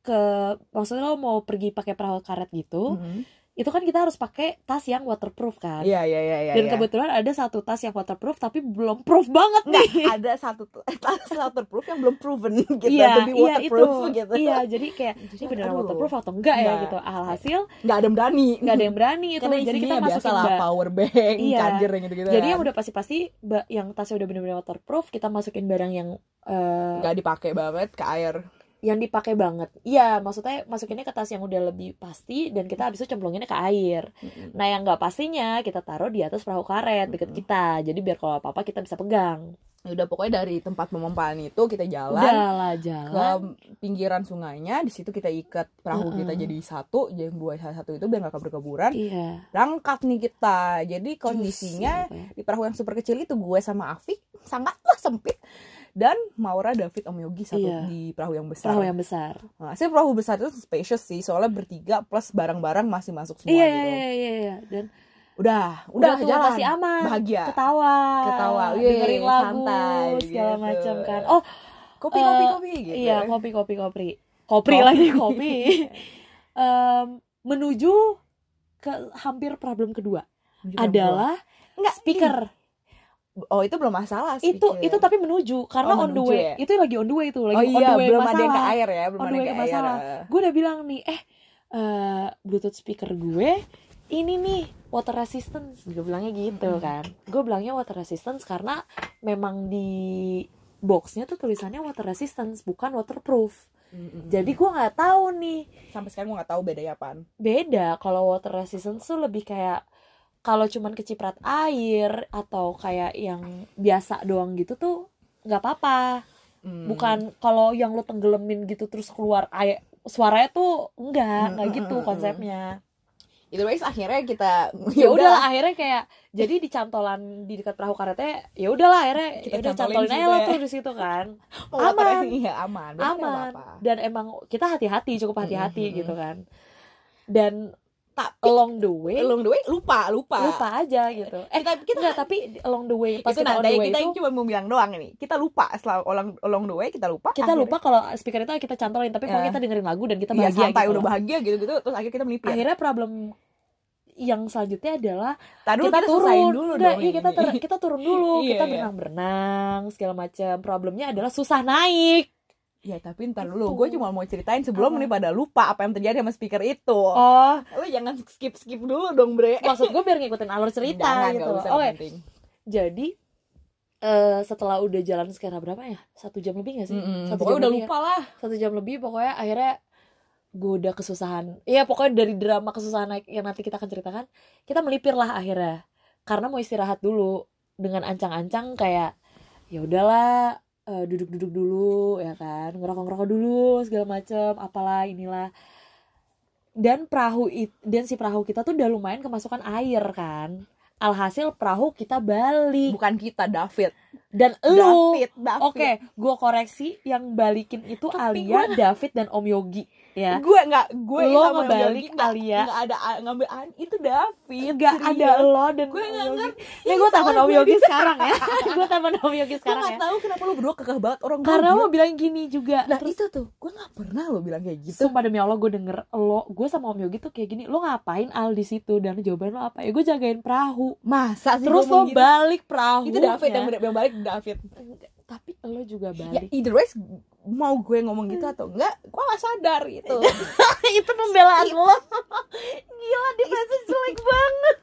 [SPEAKER 1] ke maksudnya lo mau pergi pakai perahu karet gitu
[SPEAKER 2] Mm-mm.
[SPEAKER 1] itu kan kita harus pakai tas yang waterproof kan
[SPEAKER 2] Mhm. iya iya iya iya
[SPEAKER 1] dan
[SPEAKER 2] iya.
[SPEAKER 1] kebetulan ada satu tas yang waterproof tapi belum proof banget
[SPEAKER 2] Nggak,
[SPEAKER 1] nih
[SPEAKER 2] ada satu tas waterproof yang belum proven gitu
[SPEAKER 1] iya
[SPEAKER 2] to be
[SPEAKER 1] iya itu
[SPEAKER 2] waterproof gitu
[SPEAKER 1] iya jadi kayak ini beneran
[SPEAKER 2] Aduh.
[SPEAKER 1] waterproof atau enggak ya
[SPEAKER 2] Nggak.
[SPEAKER 1] gitu alhasil
[SPEAKER 2] nggak ada berani
[SPEAKER 1] nggak ada yang berani itu
[SPEAKER 2] Karena
[SPEAKER 1] jadi
[SPEAKER 2] isinya
[SPEAKER 1] kita
[SPEAKER 2] biasa
[SPEAKER 1] masukin
[SPEAKER 2] lah
[SPEAKER 1] ba-
[SPEAKER 2] power bank
[SPEAKER 1] Iya.
[SPEAKER 2] charger yang gitu gitu
[SPEAKER 1] jadi yang udah pasti-pasti ba- yang tasnya udah bener-bener waterproof kita masukin barang yang eh,
[SPEAKER 2] nggak dipakai banget ke air
[SPEAKER 1] yang dipakai banget. Iya, maksudnya masukinnya ke tas yang udah lebih pasti dan kita habis itu cemplunginnya ke air. Nah, yang nggak pastinya kita taruh di atas perahu karet deket
[SPEAKER 2] Mm-mm.
[SPEAKER 1] kita. Jadi biar kalau apa-apa kita bisa pegang.
[SPEAKER 2] udah pokoknya dari tempat pemompaan itu kita jalan
[SPEAKER 1] Udah lah
[SPEAKER 2] ke
[SPEAKER 1] jalan.
[SPEAKER 2] pinggiran sungainya di situ kita ikat perahu
[SPEAKER 1] Mm-mm.
[SPEAKER 2] kita jadi satu yang buat satu itu biar nggak keberkeburan
[SPEAKER 1] Iya.
[SPEAKER 2] berangkat nih kita jadi kondisinya
[SPEAKER 1] Terus, apa ya?
[SPEAKER 2] di perahu yang super kecil itu gue sama Afik sangatlah sempit dan Maura David Om Yogi satu
[SPEAKER 1] Iya.
[SPEAKER 2] di perahu yang besar
[SPEAKER 1] perahu yang besar.
[SPEAKER 2] Nah, sih perahu besar itu spacious sih, soalnya bertiga plus barang-barang masih masuk semua
[SPEAKER 1] Iya,
[SPEAKER 2] gitu.
[SPEAKER 1] iya, iya, iya, iya. Dan
[SPEAKER 2] Udah, udah,
[SPEAKER 1] udah, tuh
[SPEAKER 2] jalan.
[SPEAKER 1] masih aman.
[SPEAKER 2] Bahagia.
[SPEAKER 1] Ketawa.
[SPEAKER 2] Ketawa, wih,
[SPEAKER 1] dengerin lagu
[SPEAKER 2] santai,
[SPEAKER 1] segala
[SPEAKER 2] gitu.
[SPEAKER 1] macam kan. Oh,
[SPEAKER 2] Kopi, kopi,
[SPEAKER 1] Eh,
[SPEAKER 2] kopi gitu.
[SPEAKER 1] Iya, kopi, kopi, kopi. Kopi lagi, kopi. Em, menuju ke hampir problem kedua
[SPEAKER 2] Menuju ke
[SPEAKER 1] adalah
[SPEAKER 2] Enggak,
[SPEAKER 1] speaker.
[SPEAKER 2] gini. Oh, itu belum masalah speaker.
[SPEAKER 1] Itu itu tapi menuju karena
[SPEAKER 2] Oh,
[SPEAKER 1] on the
[SPEAKER 2] menuju
[SPEAKER 1] way.
[SPEAKER 2] ya?
[SPEAKER 1] Itu lagi on the way itu, lagi
[SPEAKER 2] oh
[SPEAKER 1] on
[SPEAKER 2] iya,
[SPEAKER 1] the way
[SPEAKER 2] belum
[SPEAKER 1] masalah.
[SPEAKER 2] ada yang ke air ya, belum
[SPEAKER 1] On the
[SPEAKER 2] ada yang
[SPEAKER 1] way
[SPEAKER 2] ke
[SPEAKER 1] ke
[SPEAKER 2] air.
[SPEAKER 1] masalah. Gue udah bilang nih, eh eh, Bluetooth speaker gue ini nih water resistance. Gue bilangnya gitu kan. Gue bilangnya water resistance karena memang di boxnya tuh tulisannya water resistance bukan waterproof.
[SPEAKER 2] Mm-mm.
[SPEAKER 1] Jadi gue nggak tahu nih
[SPEAKER 2] sampai sekarang gue gak tahu bedanya apaan.
[SPEAKER 1] beda kalau water resistance tuh lebih kayak kalau cuman keciprat air atau kayak yang biasa doang gitu tuh nggak apa-apa
[SPEAKER 2] Hmm.
[SPEAKER 1] bukan kalau yang lo tenggelamin gitu terus keluar air suaranya tuh enggak enggak
[SPEAKER 2] Hmm,
[SPEAKER 1] gitu
[SPEAKER 2] hmm, hmm,
[SPEAKER 1] konsepnya
[SPEAKER 2] Itu guys akhirnya kita
[SPEAKER 1] ya udahlah akhirnya kayak jadi di cantolan di dekat perahu karetnya ya udahlah akhirnya
[SPEAKER 2] Kita
[SPEAKER 1] kita udah
[SPEAKER 2] cantolin
[SPEAKER 1] cantolin aja
[SPEAKER 2] situ
[SPEAKER 1] lo
[SPEAKER 2] ya.
[SPEAKER 1] tuh di situ kan
[SPEAKER 2] aman.
[SPEAKER 1] Aman.
[SPEAKER 2] Iya, aman. Berarti nggak
[SPEAKER 1] aman
[SPEAKER 2] apa-apa.
[SPEAKER 1] dan emang kita hati-hati
[SPEAKER 2] Hmm,
[SPEAKER 1] cukup hati-hati
[SPEAKER 2] Mm-mm.
[SPEAKER 1] gitu kan dan
[SPEAKER 2] Tapi
[SPEAKER 1] along the way
[SPEAKER 2] eh, along the way lupa, lupa.
[SPEAKER 1] Oh, eh. lupa aja gitu eh
[SPEAKER 2] Kita kita
[SPEAKER 1] enggak tapi along the way pas
[SPEAKER 2] itu
[SPEAKER 1] kita
[SPEAKER 2] nah,
[SPEAKER 1] on the
[SPEAKER 2] dari
[SPEAKER 1] way
[SPEAKER 2] kita
[SPEAKER 1] itu
[SPEAKER 2] yang cuma mau bilang doang ini. Kita lupa selama along, along the way kita lupa.
[SPEAKER 1] kita
[SPEAKER 2] akhirnya-
[SPEAKER 1] lupa kalau speaker itu kita cantolin tapi kalau
[SPEAKER 2] Ya.
[SPEAKER 1] kita dengerin lagu dan kita
[SPEAKER 2] Iya,
[SPEAKER 1] bahagia
[SPEAKER 2] santai
[SPEAKER 1] gitu
[SPEAKER 2] udah
[SPEAKER 1] loh.
[SPEAKER 2] bahagia gitu-gitu terus akhirnya kita melipir.
[SPEAKER 1] akhirnya problem yang selanjutnya adalah
[SPEAKER 2] Tadi
[SPEAKER 1] kita, turun
[SPEAKER 2] dulu
[SPEAKER 1] Nggak,
[SPEAKER 2] dong.
[SPEAKER 1] iya,
[SPEAKER 2] yang
[SPEAKER 1] kita
[SPEAKER 2] ini.
[SPEAKER 1] ter- kita turun dulu
[SPEAKER 2] Iya,
[SPEAKER 1] kita
[SPEAKER 2] iya.
[SPEAKER 1] berenang-berenang segala macam problemnya adalah susah naik
[SPEAKER 2] Ya tapi ntar dulu,
[SPEAKER 1] Itu.
[SPEAKER 2] gue cuma mau ceritain sebelum
[SPEAKER 1] Gitu. Apa?
[SPEAKER 2] ini pada lupa apa yang terjadi sama speaker itu.
[SPEAKER 1] oh
[SPEAKER 2] Lo jangan skip skip dulu dong bre.
[SPEAKER 1] maksud gue biar ngikutin alur cerita
[SPEAKER 2] Jangan,
[SPEAKER 1] gitu
[SPEAKER 2] nggak
[SPEAKER 1] loh
[SPEAKER 2] usah,
[SPEAKER 1] oke
[SPEAKER 2] nggak penting.
[SPEAKER 1] jadi eh, setelah udah jalan sekitar berapa ya satu jam lebih gak sih
[SPEAKER 2] Mm-mm,
[SPEAKER 1] satu
[SPEAKER 2] pokoknya
[SPEAKER 1] jam
[SPEAKER 2] udah
[SPEAKER 1] lebih ya?
[SPEAKER 2] lupa lah.
[SPEAKER 1] satu jam lebih pokoknya akhirnya gue udah kesusahan iya pokoknya dari drama kesusahan naik yang nanti kita akan ceritakan kita melipir lah akhirnya karena mau istirahat dulu dengan ancang-ancang kayak ya udahlah eh, duduk-duduk dulu ya kan ngerokok-ngerokok dulu segala macem apalah inilah dan perahu it- dan si perahu kita tuh udah lumayan kemasukan air kan alhasil perahu kita balik
[SPEAKER 2] Bukan kita David.
[SPEAKER 1] dan elu
[SPEAKER 2] David, David.
[SPEAKER 1] Oke, gue koreksi yang balikin itu Alia, David dan Om Yogi ya.
[SPEAKER 2] Gue nggak gue
[SPEAKER 1] Lo
[SPEAKER 2] sama yang
[SPEAKER 1] ngebalik ya.
[SPEAKER 2] Yogi nggak-
[SPEAKER 1] Alia.
[SPEAKER 2] nggak ada a- ngambil an itu David.
[SPEAKER 1] Gak
[SPEAKER 2] serius.
[SPEAKER 1] ada lo dan
[SPEAKER 2] Gue nggak ngerti.
[SPEAKER 1] Nih gue telepon
[SPEAKER 2] Soalnya
[SPEAKER 1] Om
[SPEAKER 2] gue
[SPEAKER 1] Yogi sekarang ya. gue telepon Om Yogi
[SPEAKER 2] Gue
[SPEAKER 1] sekarang ya.
[SPEAKER 2] nggak tahu kenapa lo berdua kekeh banget orang
[SPEAKER 1] Karena
[SPEAKER 2] gue
[SPEAKER 1] lo bilang gitu. gini juga.
[SPEAKER 2] bilang- Nah itu tuh, gue nggak pernah lo bilang kayak gitu.
[SPEAKER 1] Sumpah demi Allah gue denger lo, gue sama Om Yogi tuh kayak gini, lo ngapain Al di situ dan jawaban lo apa? Ya gue jagain perahu.
[SPEAKER 2] Masa sih
[SPEAKER 1] Terus
[SPEAKER 2] gue mau
[SPEAKER 1] lo balik ya? perahu.
[SPEAKER 2] Itu David yang, bener- yang balik David.
[SPEAKER 1] Tapi lo juga
[SPEAKER 2] Ya
[SPEAKER 1] balik.
[SPEAKER 2] either ways mau gue ngomong gitu atau enggak, gue gak sadar gitu. itu.
[SPEAKER 1] itu pembelaan lo. Gila defense jelek banget.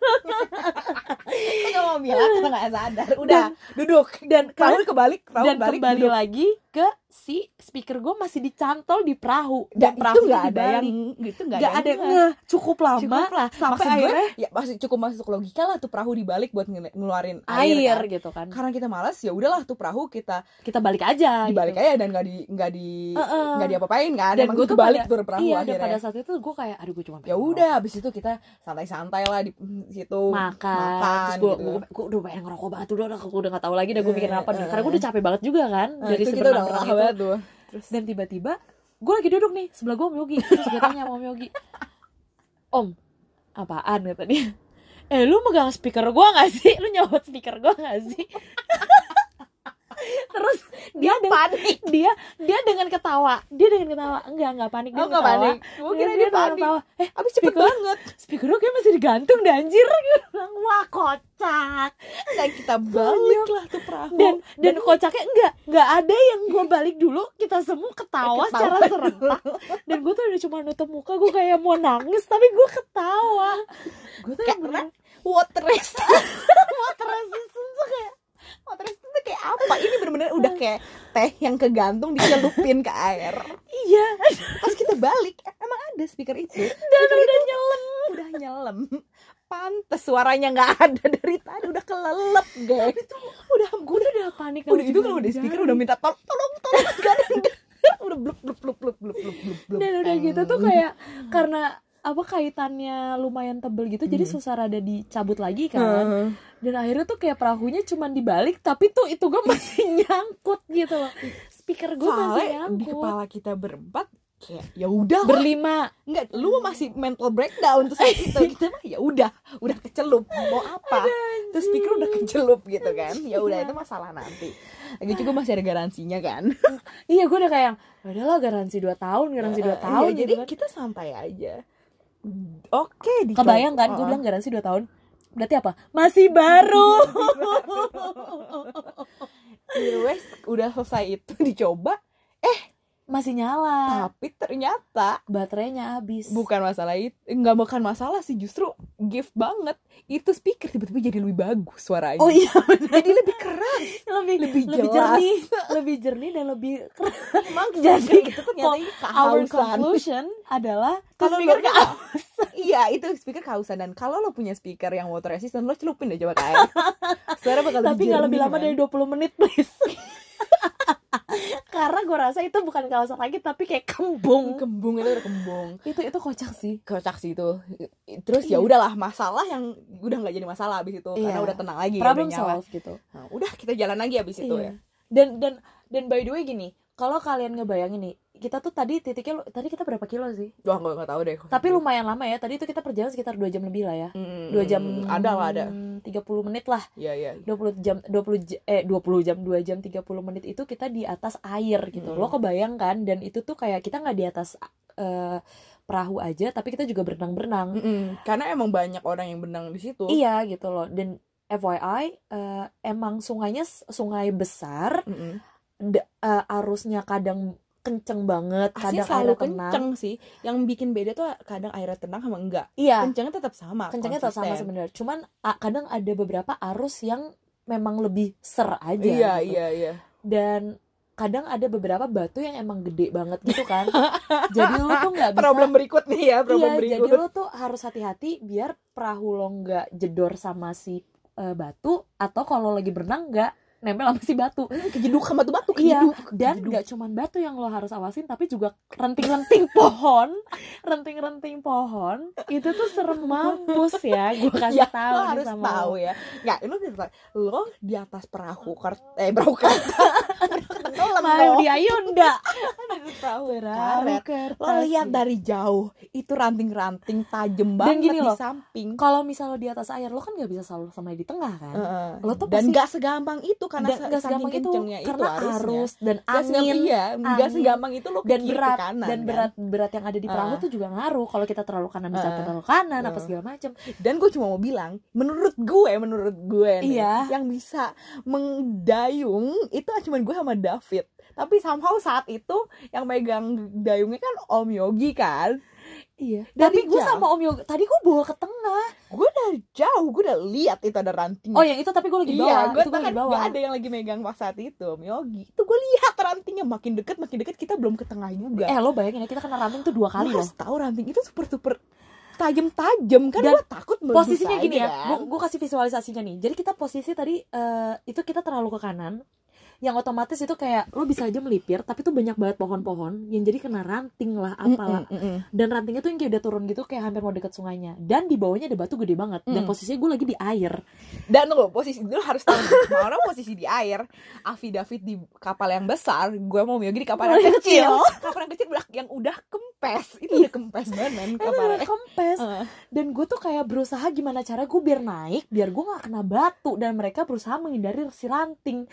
[SPEAKER 2] Gue gak mau bilang karena gak sadar. Udah duduk
[SPEAKER 1] Dan
[SPEAKER 2] Tahu kebalik, tahu
[SPEAKER 1] dan
[SPEAKER 2] balik,
[SPEAKER 1] kembali
[SPEAKER 2] duduk.
[SPEAKER 1] lagi ke si speaker gue masih dicantol di perahu
[SPEAKER 2] Dan
[SPEAKER 1] dan
[SPEAKER 2] itu
[SPEAKER 1] perahu
[SPEAKER 2] nggak ada
[SPEAKER 1] dibalik.
[SPEAKER 2] yang gitu nggak
[SPEAKER 1] nggak ada yang
[SPEAKER 2] ngeh.
[SPEAKER 1] ngeh. cukup lama
[SPEAKER 2] Cukup lah.
[SPEAKER 1] sampai
[SPEAKER 2] maksud gue,
[SPEAKER 1] akhirnya
[SPEAKER 2] ya maksud cukup masuk logika lah tuh perahu dibalik buat ngel- ngeluarin
[SPEAKER 1] air,
[SPEAKER 2] air, kan.
[SPEAKER 1] gitu kan
[SPEAKER 2] Karena kita malas ya udahlah tuh perahu kita
[SPEAKER 1] kita balik aja
[SPEAKER 2] dibalik
[SPEAKER 1] gitu.
[SPEAKER 2] aja dan nggak di nggak di
[SPEAKER 1] Heeh.
[SPEAKER 2] nggak diapa-apain kan.
[SPEAKER 1] Dan
[SPEAKER 2] Emang
[SPEAKER 1] gue
[SPEAKER 2] itu
[SPEAKER 1] tuh
[SPEAKER 2] balik
[SPEAKER 1] pada-
[SPEAKER 2] tuh perahu
[SPEAKER 1] iya dan pada
[SPEAKER 2] akhirnya.
[SPEAKER 1] saat itu gue kayak aduh gue cuma pengen
[SPEAKER 2] Ya udah habis itu kita santai-santai lah di situ
[SPEAKER 1] ngerokok, makan, terus gue
[SPEAKER 2] gitu.
[SPEAKER 1] gue udah pengen ngerokok banget udah udah gue udah gak tahu lagi dah gue mikirin
[SPEAKER 2] Eh,
[SPEAKER 1] apa nih.
[SPEAKER 2] eh,
[SPEAKER 1] karena gue udah capek banget juga kan
[SPEAKER 2] Nah,
[SPEAKER 1] dari
[SPEAKER 2] itu kita udah
[SPEAKER 1] sebenarnya
[SPEAKER 2] lelah
[SPEAKER 1] itu
[SPEAKER 2] banget tuh.
[SPEAKER 1] dan tiba-tiba gue lagi duduk nih sebelah gue Om Yogi terus gue tanya sama Om Yogi Om apaan kata dia eh lu megang speaker gue gak sih lu nyawat speaker gue gak sih terus dia dengan
[SPEAKER 2] panik.
[SPEAKER 1] dia dia dengan ketawa dia dengan ketawa enggak enggak panik dia
[SPEAKER 2] Aku gak
[SPEAKER 1] ketawa.
[SPEAKER 2] Oh, panik. Gue kira
[SPEAKER 1] Dia-
[SPEAKER 2] dia
[SPEAKER 1] dengan
[SPEAKER 2] panik.
[SPEAKER 1] ketawa. eh
[SPEAKER 2] Abis cepet
[SPEAKER 1] Speaker.
[SPEAKER 2] banget.
[SPEAKER 1] speaker gue kayak masih digantung deh anjir Dia bilang, wah kocak
[SPEAKER 2] Dan kita balik lah tuh perahu.
[SPEAKER 1] Gitu. dan dan kocaknya enggak enggak ada yang gue balik dulu kita semua ketawa,
[SPEAKER 2] Eh, Ketawa
[SPEAKER 1] secara
[SPEAKER 2] dulu.
[SPEAKER 1] serentak dan gue tuh udah cuma nutup muka gue kayak mau nangis tapi gue ketawa gue tuh yang
[SPEAKER 2] Karena
[SPEAKER 1] bener-
[SPEAKER 2] water Oh,
[SPEAKER 1] water resistance tuh kayak
[SPEAKER 2] Water resistance tuh Oh, kayak apa? Ini bener-bener udah
[SPEAKER 1] Hmm.
[SPEAKER 2] kayak teh yang kegantung dicelupin ke air.
[SPEAKER 1] iya
[SPEAKER 2] Pas kita balik, eh, emang ada speaker itu.
[SPEAKER 1] dan udah
[SPEAKER 2] gitu.
[SPEAKER 1] nyelam
[SPEAKER 2] Udah nyelem. Pantes suaranya nggak ada dari tadi udah kelelep, guys.
[SPEAKER 1] udah gue tuh udah panik
[SPEAKER 2] Udah
[SPEAKER 1] sama
[SPEAKER 2] itu kan
[SPEAKER 1] si
[SPEAKER 2] udah
[SPEAKER 1] Banjar.
[SPEAKER 2] speaker udah minta tolong tolong tolong nggak ada yang dengar. udah blup blup blup blup blup blup blup, blup.
[SPEAKER 1] dan udah gitu tuh
[SPEAKER 2] Teng.
[SPEAKER 1] kayak karena apa kaitannya lumayan tebel gitu jadi
[SPEAKER 2] Hmm.
[SPEAKER 1] susah rada dicabut lagi kan
[SPEAKER 2] Heeh.
[SPEAKER 1] dan akhirnya tuh kayak perahunya cuman dibalik tapi tuh itu gue masih nyangkut gitu loh speaker gue masih
[SPEAKER 2] Soalnya ya? di
[SPEAKER 1] nyangkut
[SPEAKER 2] kepala kita berempat kayak ya udah
[SPEAKER 1] berlima
[SPEAKER 2] Enggak, lu masih mental breakdown terus kayak gitu. Kita mah ya udah, udah kecelup mau apa. Terus pikir udah kecelup gitu kan. Ya udah itu masalah nanti. Lagi juga masih ada garansinya kan.
[SPEAKER 1] iya gue udah kayak yang, udahlah garansi 2 tahun garansi 2
[SPEAKER 2] Iya,
[SPEAKER 1] tahun
[SPEAKER 2] jadi
[SPEAKER 1] gitu kan.
[SPEAKER 2] kita santai aja. Oke, di
[SPEAKER 1] kebayang kan gue bilang garansi 2 tahun berarti apa masih baru
[SPEAKER 2] udah selesai itu dicoba,
[SPEAKER 1] masih nyala
[SPEAKER 2] tapi ternyata
[SPEAKER 1] baterainya habis
[SPEAKER 2] bukan masalah itu, enggak bukan masalah sih justru gift banget. Itu speaker tiba-tiba jadi lebih bagus suaranya.
[SPEAKER 1] oh iya
[SPEAKER 2] Jadi lebih keras.
[SPEAKER 1] lebih
[SPEAKER 2] Lebih
[SPEAKER 1] lebih,
[SPEAKER 2] jelas.
[SPEAKER 1] jernih lebih jernih dan lebih
[SPEAKER 2] Emang
[SPEAKER 1] Jadi,
[SPEAKER 2] itu ternyata ini
[SPEAKER 1] our
[SPEAKER 2] kehausan.
[SPEAKER 1] conclusion "Ah, adalah
[SPEAKER 2] Kalau
[SPEAKER 1] speaker
[SPEAKER 2] lo- Iya, itu speaker kehausan dan kalau lo punya speaker yang water resistant lo celupin deh coba ke air. Suara bakal kan?
[SPEAKER 1] tapi nggak lebih
[SPEAKER 2] jernih,
[SPEAKER 1] lama
[SPEAKER 2] kan?
[SPEAKER 1] dari 20 menit please karena gue rasa itu bukan kawasan lagi tapi kayak kembung
[SPEAKER 2] kembung itu udah kembung
[SPEAKER 1] itu itu kocak sih
[SPEAKER 2] kocak sih itu terus
[SPEAKER 1] Iya.
[SPEAKER 2] ya udahlah masalah yang udah nggak jadi masalah abis itu karena
[SPEAKER 1] Iya.
[SPEAKER 2] udah tenang lagi
[SPEAKER 1] problem
[SPEAKER 2] udah nyawa.
[SPEAKER 1] solve gitu
[SPEAKER 2] Nah, udah kita jalan lagi abis itu
[SPEAKER 1] Iya.
[SPEAKER 2] ya
[SPEAKER 1] dan dan dan by the way gini kalau kalian ngebayangin nih kita tuh tadi titiknya lu- tadi kita berapa kilo sih
[SPEAKER 2] wah nggak nggak tahu deh
[SPEAKER 1] tapi lumayan lama ya tadi itu kita perjalanan sekitar dua jam lebih lah ya
[SPEAKER 2] Mm,
[SPEAKER 1] dua jam
[SPEAKER 2] ada lah ada
[SPEAKER 1] 30 menit lah
[SPEAKER 2] ya ya
[SPEAKER 1] 20 jam 20 j- eh 20 jam 2 jam 30 menit itu kita di atas air gitu.
[SPEAKER 2] Hmm.
[SPEAKER 1] Lo kebayang kan dan itu tuh kayak kita nggak di atas eh, perahu aja tapi kita juga berenang-berenang.
[SPEAKER 2] karena emang banyak orang yang benang di situ
[SPEAKER 1] Hmm. Iya gitu loh. Dan FYI eh, emang sungainya s- sungai besar,
[SPEAKER 2] Mm-mm.
[SPEAKER 1] d- eh, arusnya kadang kenceng banget,
[SPEAKER 2] Aslinya
[SPEAKER 1] kadang
[SPEAKER 2] Ah, selalu
[SPEAKER 1] airnya tenang.
[SPEAKER 2] kenceng sih yang bikin beda tuh kadang airnya tenang sama enggak
[SPEAKER 1] Iya,
[SPEAKER 2] kencengnya tetap sama
[SPEAKER 1] kencengnya tetap sama
[SPEAKER 2] konsisten.
[SPEAKER 1] sebenarnya. Cuman ah, kadang ada beberapa arus yang memang lebih ser aja.
[SPEAKER 2] iya
[SPEAKER 1] gitu.
[SPEAKER 2] iya iya
[SPEAKER 1] dan kadang ada beberapa batu yang emang gede banget gitu kan jadi lu tuh nggak bisa
[SPEAKER 2] problem berikut nih ya problem
[SPEAKER 1] iya
[SPEAKER 2] berikut
[SPEAKER 1] jadi lu tuh harus hati-hati biar perahu lo nggak jedor sama si eh, batu atau kalau lagi berenang nggak nempel sama si batu
[SPEAKER 2] kejeduk sama tuh batu
[SPEAKER 1] Iya,
[SPEAKER 2] kejeduk
[SPEAKER 1] dan
[SPEAKER 2] kejeduk.
[SPEAKER 1] nggak cuman batu yang lo harus awasin tapi juga renting-renting pohon renting-renting pohon itu tuh serem mampus ya gue kasih
[SPEAKER 2] Ya,
[SPEAKER 1] tahu
[SPEAKER 2] lo
[SPEAKER 1] nih
[SPEAKER 2] harus
[SPEAKER 1] sama
[SPEAKER 2] tahu
[SPEAKER 1] lo.
[SPEAKER 2] ya nggak lo di atas lo di atas perahu kart eh perahu kart tenggelam
[SPEAKER 1] Malu
[SPEAKER 2] lo
[SPEAKER 1] di Ayunda
[SPEAKER 2] perahu
[SPEAKER 1] Taruh kertas.
[SPEAKER 2] lo lihat dari jauh itu ranting-ranting
[SPEAKER 1] Dan
[SPEAKER 2] tajam banget
[SPEAKER 1] gini
[SPEAKER 2] di
[SPEAKER 1] loh,
[SPEAKER 2] samping
[SPEAKER 1] kalau misalnya di atas air lo kan nggak bisa selalu sama di tengah kan
[SPEAKER 2] Heeh.
[SPEAKER 1] Lo tuh
[SPEAKER 2] dan
[SPEAKER 1] pasti-
[SPEAKER 2] nggak segampang itu Eh, karena
[SPEAKER 1] dan
[SPEAKER 2] sa-
[SPEAKER 1] nggak
[SPEAKER 2] saking
[SPEAKER 1] segampang itu
[SPEAKER 2] kencengnya
[SPEAKER 1] karena
[SPEAKER 2] harusnya.
[SPEAKER 1] arus dan
[SPEAKER 2] Nggak segam-
[SPEAKER 1] angin
[SPEAKER 2] iya nggak
[SPEAKER 1] angin,
[SPEAKER 2] segampang itu lo ke
[SPEAKER 1] dan
[SPEAKER 2] kiri, ke
[SPEAKER 1] berat
[SPEAKER 2] kanan,
[SPEAKER 1] dan
[SPEAKER 2] kan.
[SPEAKER 1] berat berat yang ada di perahu
[SPEAKER 2] Ah.
[SPEAKER 1] tuh juga ngaruh kalau kita terlalu kanan bisa
[SPEAKER 2] Ah.
[SPEAKER 1] terlalu kanan apa
[SPEAKER 2] Ah.
[SPEAKER 1] segala macam
[SPEAKER 2] dan gue cuma mau bilang menurut gue menurut gue nih
[SPEAKER 1] Iya.
[SPEAKER 2] yang bisa mendayung itu cuma gue sama David tapi somehow saat itu yang megang dayungnya kan Om Yogi kan
[SPEAKER 1] iya
[SPEAKER 2] Dari
[SPEAKER 1] tapi gue
[SPEAKER 2] jauh.
[SPEAKER 1] sama om yoga tadi gue bawa ke tengah
[SPEAKER 2] gue dari jauh gue udah lihat itu ada ranting
[SPEAKER 1] oh yang itu tapi gue lagi bawa
[SPEAKER 2] Hmm. iya gue
[SPEAKER 1] itu gue
[SPEAKER 2] tuh kan
[SPEAKER 1] lagi bawa
[SPEAKER 2] gak ada yang lagi megang pas saat itu Om Yogi itu gue lihat rantingnya makin deket makin deket kita belum ke tengah juga
[SPEAKER 1] eh lo bayangin ya kita kena ranting tuh dua kali
[SPEAKER 2] Lo
[SPEAKER 1] loh
[SPEAKER 2] harus tahu ranting itu super super tajam-tajam kan
[SPEAKER 1] Dan
[SPEAKER 2] gue takut meletus
[SPEAKER 1] posisinya
[SPEAKER 2] aja
[SPEAKER 1] gini ya
[SPEAKER 2] kan.
[SPEAKER 1] gue kasih visualisasinya nih jadi kita posisi tadi eh, itu kita terlalu ke kanan yang otomatis itu kayak lo bisa aja melipir tapi tuh banyak banget pohon-pohon yang jadi kena ranting lah apalah
[SPEAKER 2] Mm, mm, mm, mm.
[SPEAKER 1] dan rantingnya tuh yang kayak udah turun gitu kayak hampir mau deket sungainya dan di bawahnya ada batu gede banget dan
[SPEAKER 2] Mm.
[SPEAKER 1] posisinya gue lagi di air
[SPEAKER 2] Dan lo posisi dulu harus tahu Mau orang posisi di air Avi David di kapal yang besar Gue mau Miyogi di kapal yang
[SPEAKER 1] Kapal yang
[SPEAKER 2] kecil
[SPEAKER 1] kecil.
[SPEAKER 2] Kapal yang kecil udah, yang udah kempes Itu udah kempes banget men
[SPEAKER 1] Itu
[SPEAKER 2] kapal
[SPEAKER 1] udah kempes
[SPEAKER 2] Eh.
[SPEAKER 1] dan gue tuh kayak berusaha gimana cara gue biar naik biar gue nggak kena batu dan mereka berusaha menghindari si ranting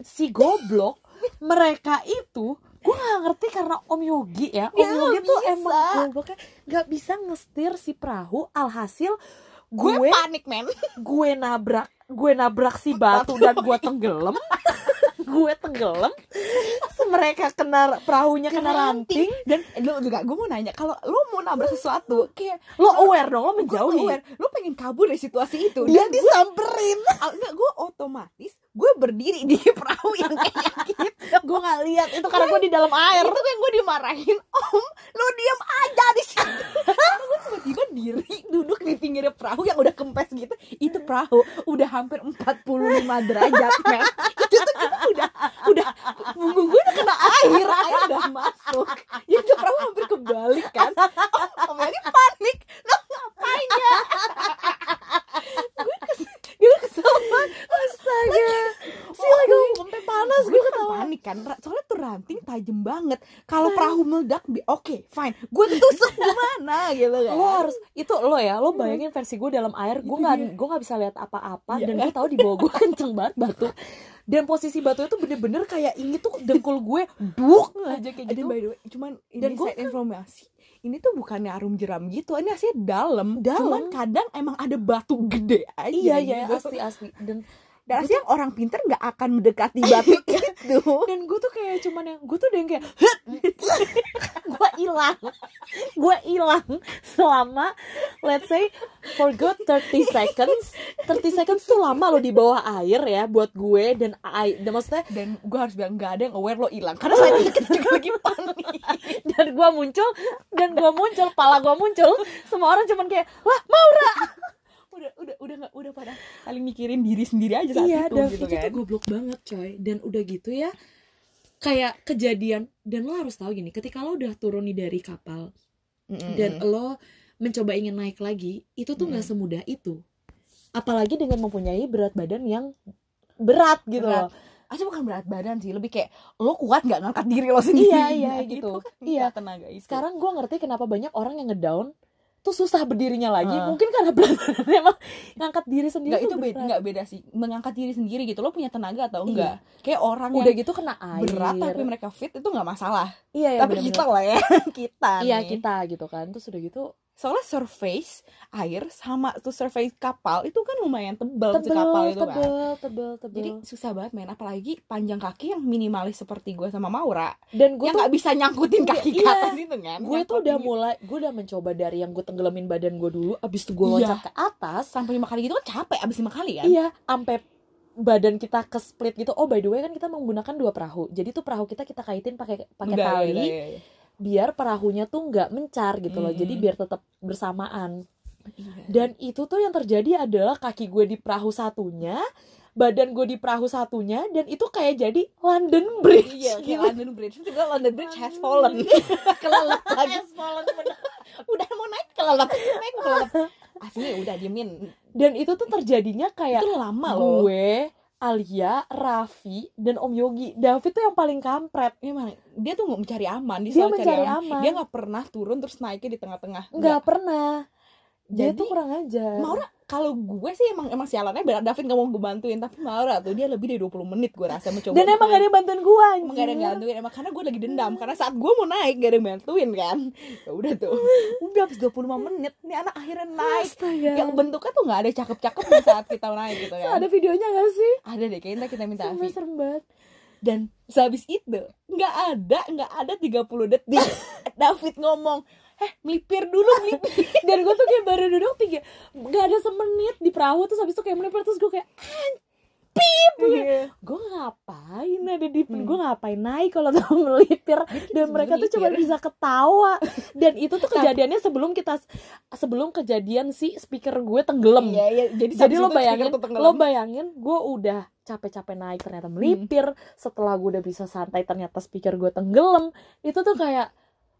[SPEAKER 1] si goblok mereka itu gue gak ngerti karena Om Yogi ya Om
[SPEAKER 2] Ya,
[SPEAKER 1] Yogi tuh
[SPEAKER 2] bisa.
[SPEAKER 1] emang gobloknya gak bisa ngestir si perahu alhasil
[SPEAKER 2] Gue
[SPEAKER 1] gue
[SPEAKER 2] panik men
[SPEAKER 1] gue nabrak gue nabrak si batu dan gue tenggelam gue tenggelam mereka kena perahunya kena ranting
[SPEAKER 2] Dan lo juga gue mau nanya Kalau lo mau nabrak sesuatu Kayak
[SPEAKER 1] lo aware dong lo
[SPEAKER 2] Lo
[SPEAKER 1] menjauhi
[SPEAKER 2] aware, Lo pengen kabur dari situasi itu
[SPEAKER 1] Dia
[SPEAKER 2] disamperin Enggak gue otomatis Gue berdiri di perahu yang kayak gitu
[SPEAKER 1] gue nggak lihat itu karena gue di dalam air
[SPEAKER 2] Itu kayak gue dimarahin Om lu diam aja di situ Karena gue tiba-tiba diri Duduk di pinggir perahu yang udah kempes gitu Itu perahu udah hampir 45 derajat men Itu tuh kita udah Udah Punggung gue udah kena air Air udah masuk Ya itu perahu hampir kebalik kan Om Eli panik Lo ngapain ya Gue kesel Gue kesel banget
[SPEAKER 1] astaga
[SPEAKER 2] sih lagi sampai panas gue ketawa Nah. panik kan Ra- soalnya tuh ranting tajam banget kalau perahu meledak bi- oke fine gue ketusuk gimana gitu kan
[SPEAKER 1] lo harus itu lo ya lo bayangin versi gue dalam air gue nggak gue nggak bisa lihat apa-apa
[SPEAKER 2] Iya.
[SPEAKER 1] dan gue tahu di bawah gue kenceng banget batu dan posisi batu itu bener-bener kayak ini tuh dengkul gue buk aja kayak
[SPEAKER 2] dan
[SPEAKER 1] gitu
[SPEAKER 2] by the way cuman ini
[SPEAKER 1] Dan gua
[SPEAKER 2] side informasi ini tuh bukannya arum jeram gitu ini aslinya dalam
[SPEAKER 1] Dalam.
[SPEAKER 2] cuman kadang emang ada batu gede aja
[SPEAKER 1] iya iya
[SPEAKER 2] gitu.
[SPEAKER 1] asli asli dan
[SPEAKER 2] dan aslinya orang pinter nggak akan mendekati batu itu
[SPEAKER 1] dan gue tuh kayak cuman yang gue tuh udah yang kayak gitu. gue Hmm. hilang gue hilang selama let's say for good 30 seconds 30 seconds tuh lama lo di bawah air ya buat gue dan ai dan maksudnya
[SPEAKER 2] dan gue harus bilang nggak ada yang aware lo hilang karena saat itu kita juga lagi panik
[SPEAKER 1] dan gue muncul dan gue muncul pala gue muncul semua orang cuman kayak wah Maura
[SPEAKER 2] udah udah udah nggak udah pada saling mikirin diri sendiri aja saat itu gitu
[SPEAKER 1] Iya, itu
[SPEAKER 2] kan
[SPEAKER 1] tuh goblok banget coy dan udah gitu ya kayak kejadian dan lo harus tahu gini ketika lo udah turun nih dari kapal dan lo mencoba ingin naik lagi itu tuh nggak semudah itu apalagi dengan mempunyai berat badan yang berat gitu loh
[SPEAKER 2] Berat. Asli Ah, bukan berat badan sih, lebih kayak lo kuat nggak ngangkat diri lo sendiri.
[SPEAKER 1] Iya, iya, gitu.
[SPEAKER 2] kan,
[SPEAKER 1] Iya.
[SPEAKER 2] nggak tenaga itu.
[SPEAKER 1] sekarang gue ngerti kenapa banyak orang yang ngedown tuh susah berdirinya lagi
[SPEAKER 2] Ah.
[SPEAKER 1] mungkin karena berat badan emang ngangkat diri sendiri
[SPEAKER 2] nggak itu
[SPEAKER 1] tuh
[SPEAKER 2] beda,
[SPEAKER 1] berat. Iya.
[SPEAKER 2] nggak beda sih. Mengangkat diri sendiri gitu, lo punya tenaga atau enggak? Kayak orang
[SPEAKER 1] udah
[SPEAKER 2] yang
[SPEAKER 1] gitu kena air
[SPEAKER 2] berat tapi mereka fit itu nggak masalah.
[SPEAKER 1] iya iya,
[SPEAKER 2] tapi
[SPEAKER 1] bener-bener.
[SPEAKER 2] kita lah ya, kita.
[SPEAKER 1] iya
[SPEAKER 2] nih.
[SPEAKER 1] kita gitu kan terus udah gitu
[SPEAKER 2] Soalnya surface air sama tuh surface kapal itu kan lumayan tebal, tuh
[SPEAKER 1] tebel
[SPEAKER 2] kapal itu kan.
[SPEAKER 1] tebel tebel tebel
[SPEAKER 2] Jadi susah banget main apalagi panjang kaki yang minimalis seperti gue sama Maura
[SPEAKER 1] dan gue
[SPEAKER 2] yang
[SPEAKER 1] tuh
[SPEAKER 2] nggak bisa nyangkutin kaki ke
[SPEAKER 1] Iya.
[SPEAKER 2] atas itu kan.
[SPEAKER 1] gue tuh udah
[SPEAKER 2] Nyangkutin
[SPEAKER 1] mulai gue udah mencoba dari yang gue tenggelamin badan gue dulu abis itu gue
[SPEAKER 2] Iya.
[SPEAKER 1] loncat ke atas
[SPEAKER 2] sampai lima kali gitu kan capek abis lima kali kan.
[SPEAKER 1] iya sampai badan kita ke split gitu oh by the way kan kita menggunakan dua perahu jadi tuh perahu kita kita kaitin pakai pakai
[SPEAKER 2] Udah,
[SPEAKER 1] tali
[SPEAKER 2] udah, iya, udah, udah.
[SPEAKER 1] biar perahunya tuh nggak mencar gitu loh jadi
[SPEAKER 2] Mm.
[SPEAKER 1] biar tetap bersamaan
[SPEAKER 2] Iya.
[SPEAKER 1] dan itu tuh yang terjadi adalah kaki gue di perahu satunya badan gue di perahu satunya dan itu kayak jadi London Bridge
[SPEAKER 2] Iya, kayak
[SPEAKER 1] gitu.
[SPEAKER 2] London Bridge juga London Bridge has fallen. kelelep lagi. Has fallen Udah mau naik kelelep, naik kelelep. Asli udah diemin.
[SPEAKER 1] dan itu tuh terjadinya kayak
[SPEAKER 2] itu lama loh.
[SPEAKER 1] gue Alia, Raffi, dan Om Yogi. David tuh yang paling kampret.
[SPEAKER 2] Emang Iya, dia tuh mau mencari aman, dia,
[SPEAKER 1] Dia
[SPEAKER 2] selalu cari
[SPEAKER 1] mencari
[SPEAKER 2] aman.
[SPEAKER 1] aman.
[SPEAKER 2] Dia nggak pernah turun terus naiknya di tengah-tengah.
[SPEAKER 1] nggak pernah. Dia
[SPEAKER 2] Iya. Jadi-
[SPEAKER 1] tuh kurang ajar.
[SPEAKER 2] Maura kalau gue sih emang emang sialannya berat David gak mau gue bantuin tapi Maura tuh dia lebih dari 20 menit gue rasa mencoba.
[SPEAKER 1] Dan emang gak ada yang bantuin gue
[SPEAKER 2] Emang gak ada yang bantuin emang karena gue lagi dendam karena saat gue mau naik gak ada yang bantuin kan. Ya udah tuh. Udah habis 25 menit nih anak akhirnya naik.
[SPEAKER 1] Astaga.
[SPEAKER 2] yang Iya. Ya, bentuknya tuh nggak ada cakep-cakep di saat kita naik gitu kan ada,
[SPEAKER 1] Ada videonya gak sih?
[SPEAKER 2] deh kayaknya kita minta
[SPEAKER 1] Sampai
[SPEAKER 2] Avi
[SPEAKER 1] serem banget.
[SPEAKER 2] dan sehabis itu nggak ada nggak ada 30 detik David ngomong eh melipir dulu melipir
[SPEAKER 1] Dan gue tuh kayak baru duduk tiga, gak ada semenit di perahu terus habis itu kayak menipir terus gue kayak
[SPEAKER 2] Iya.
[SPEAKER 1] gue ngapain ada di
[SPEAKER 2] Hmm.
[SPEAKER 1] gue ngapain naik kalau tau melipir dan mereka tuh cuma bisa ketawa dan itu tuh kejadiannya sebelum kita sebelum kejadian si speaker gue tenggelam
[SPEAKER 2] iya iya
[SPEAKER 1] jadi
[SPEAKER 2] jadi, habis
[SPEAKER 1] lo
[SPEAKER 2] itu speaker
[SPEAKER 1] bayangin
[SPEAKER 2] tuh tenggelam.
[SPEAKER 1] lo
[SPEAKER 2] Hmm.
[SPEAKER 1] bayangin gue udah capek-capek naik ternyata melipir setelah gue udah bisa santai ternyata speaker gue tenggelam itu tuh kayak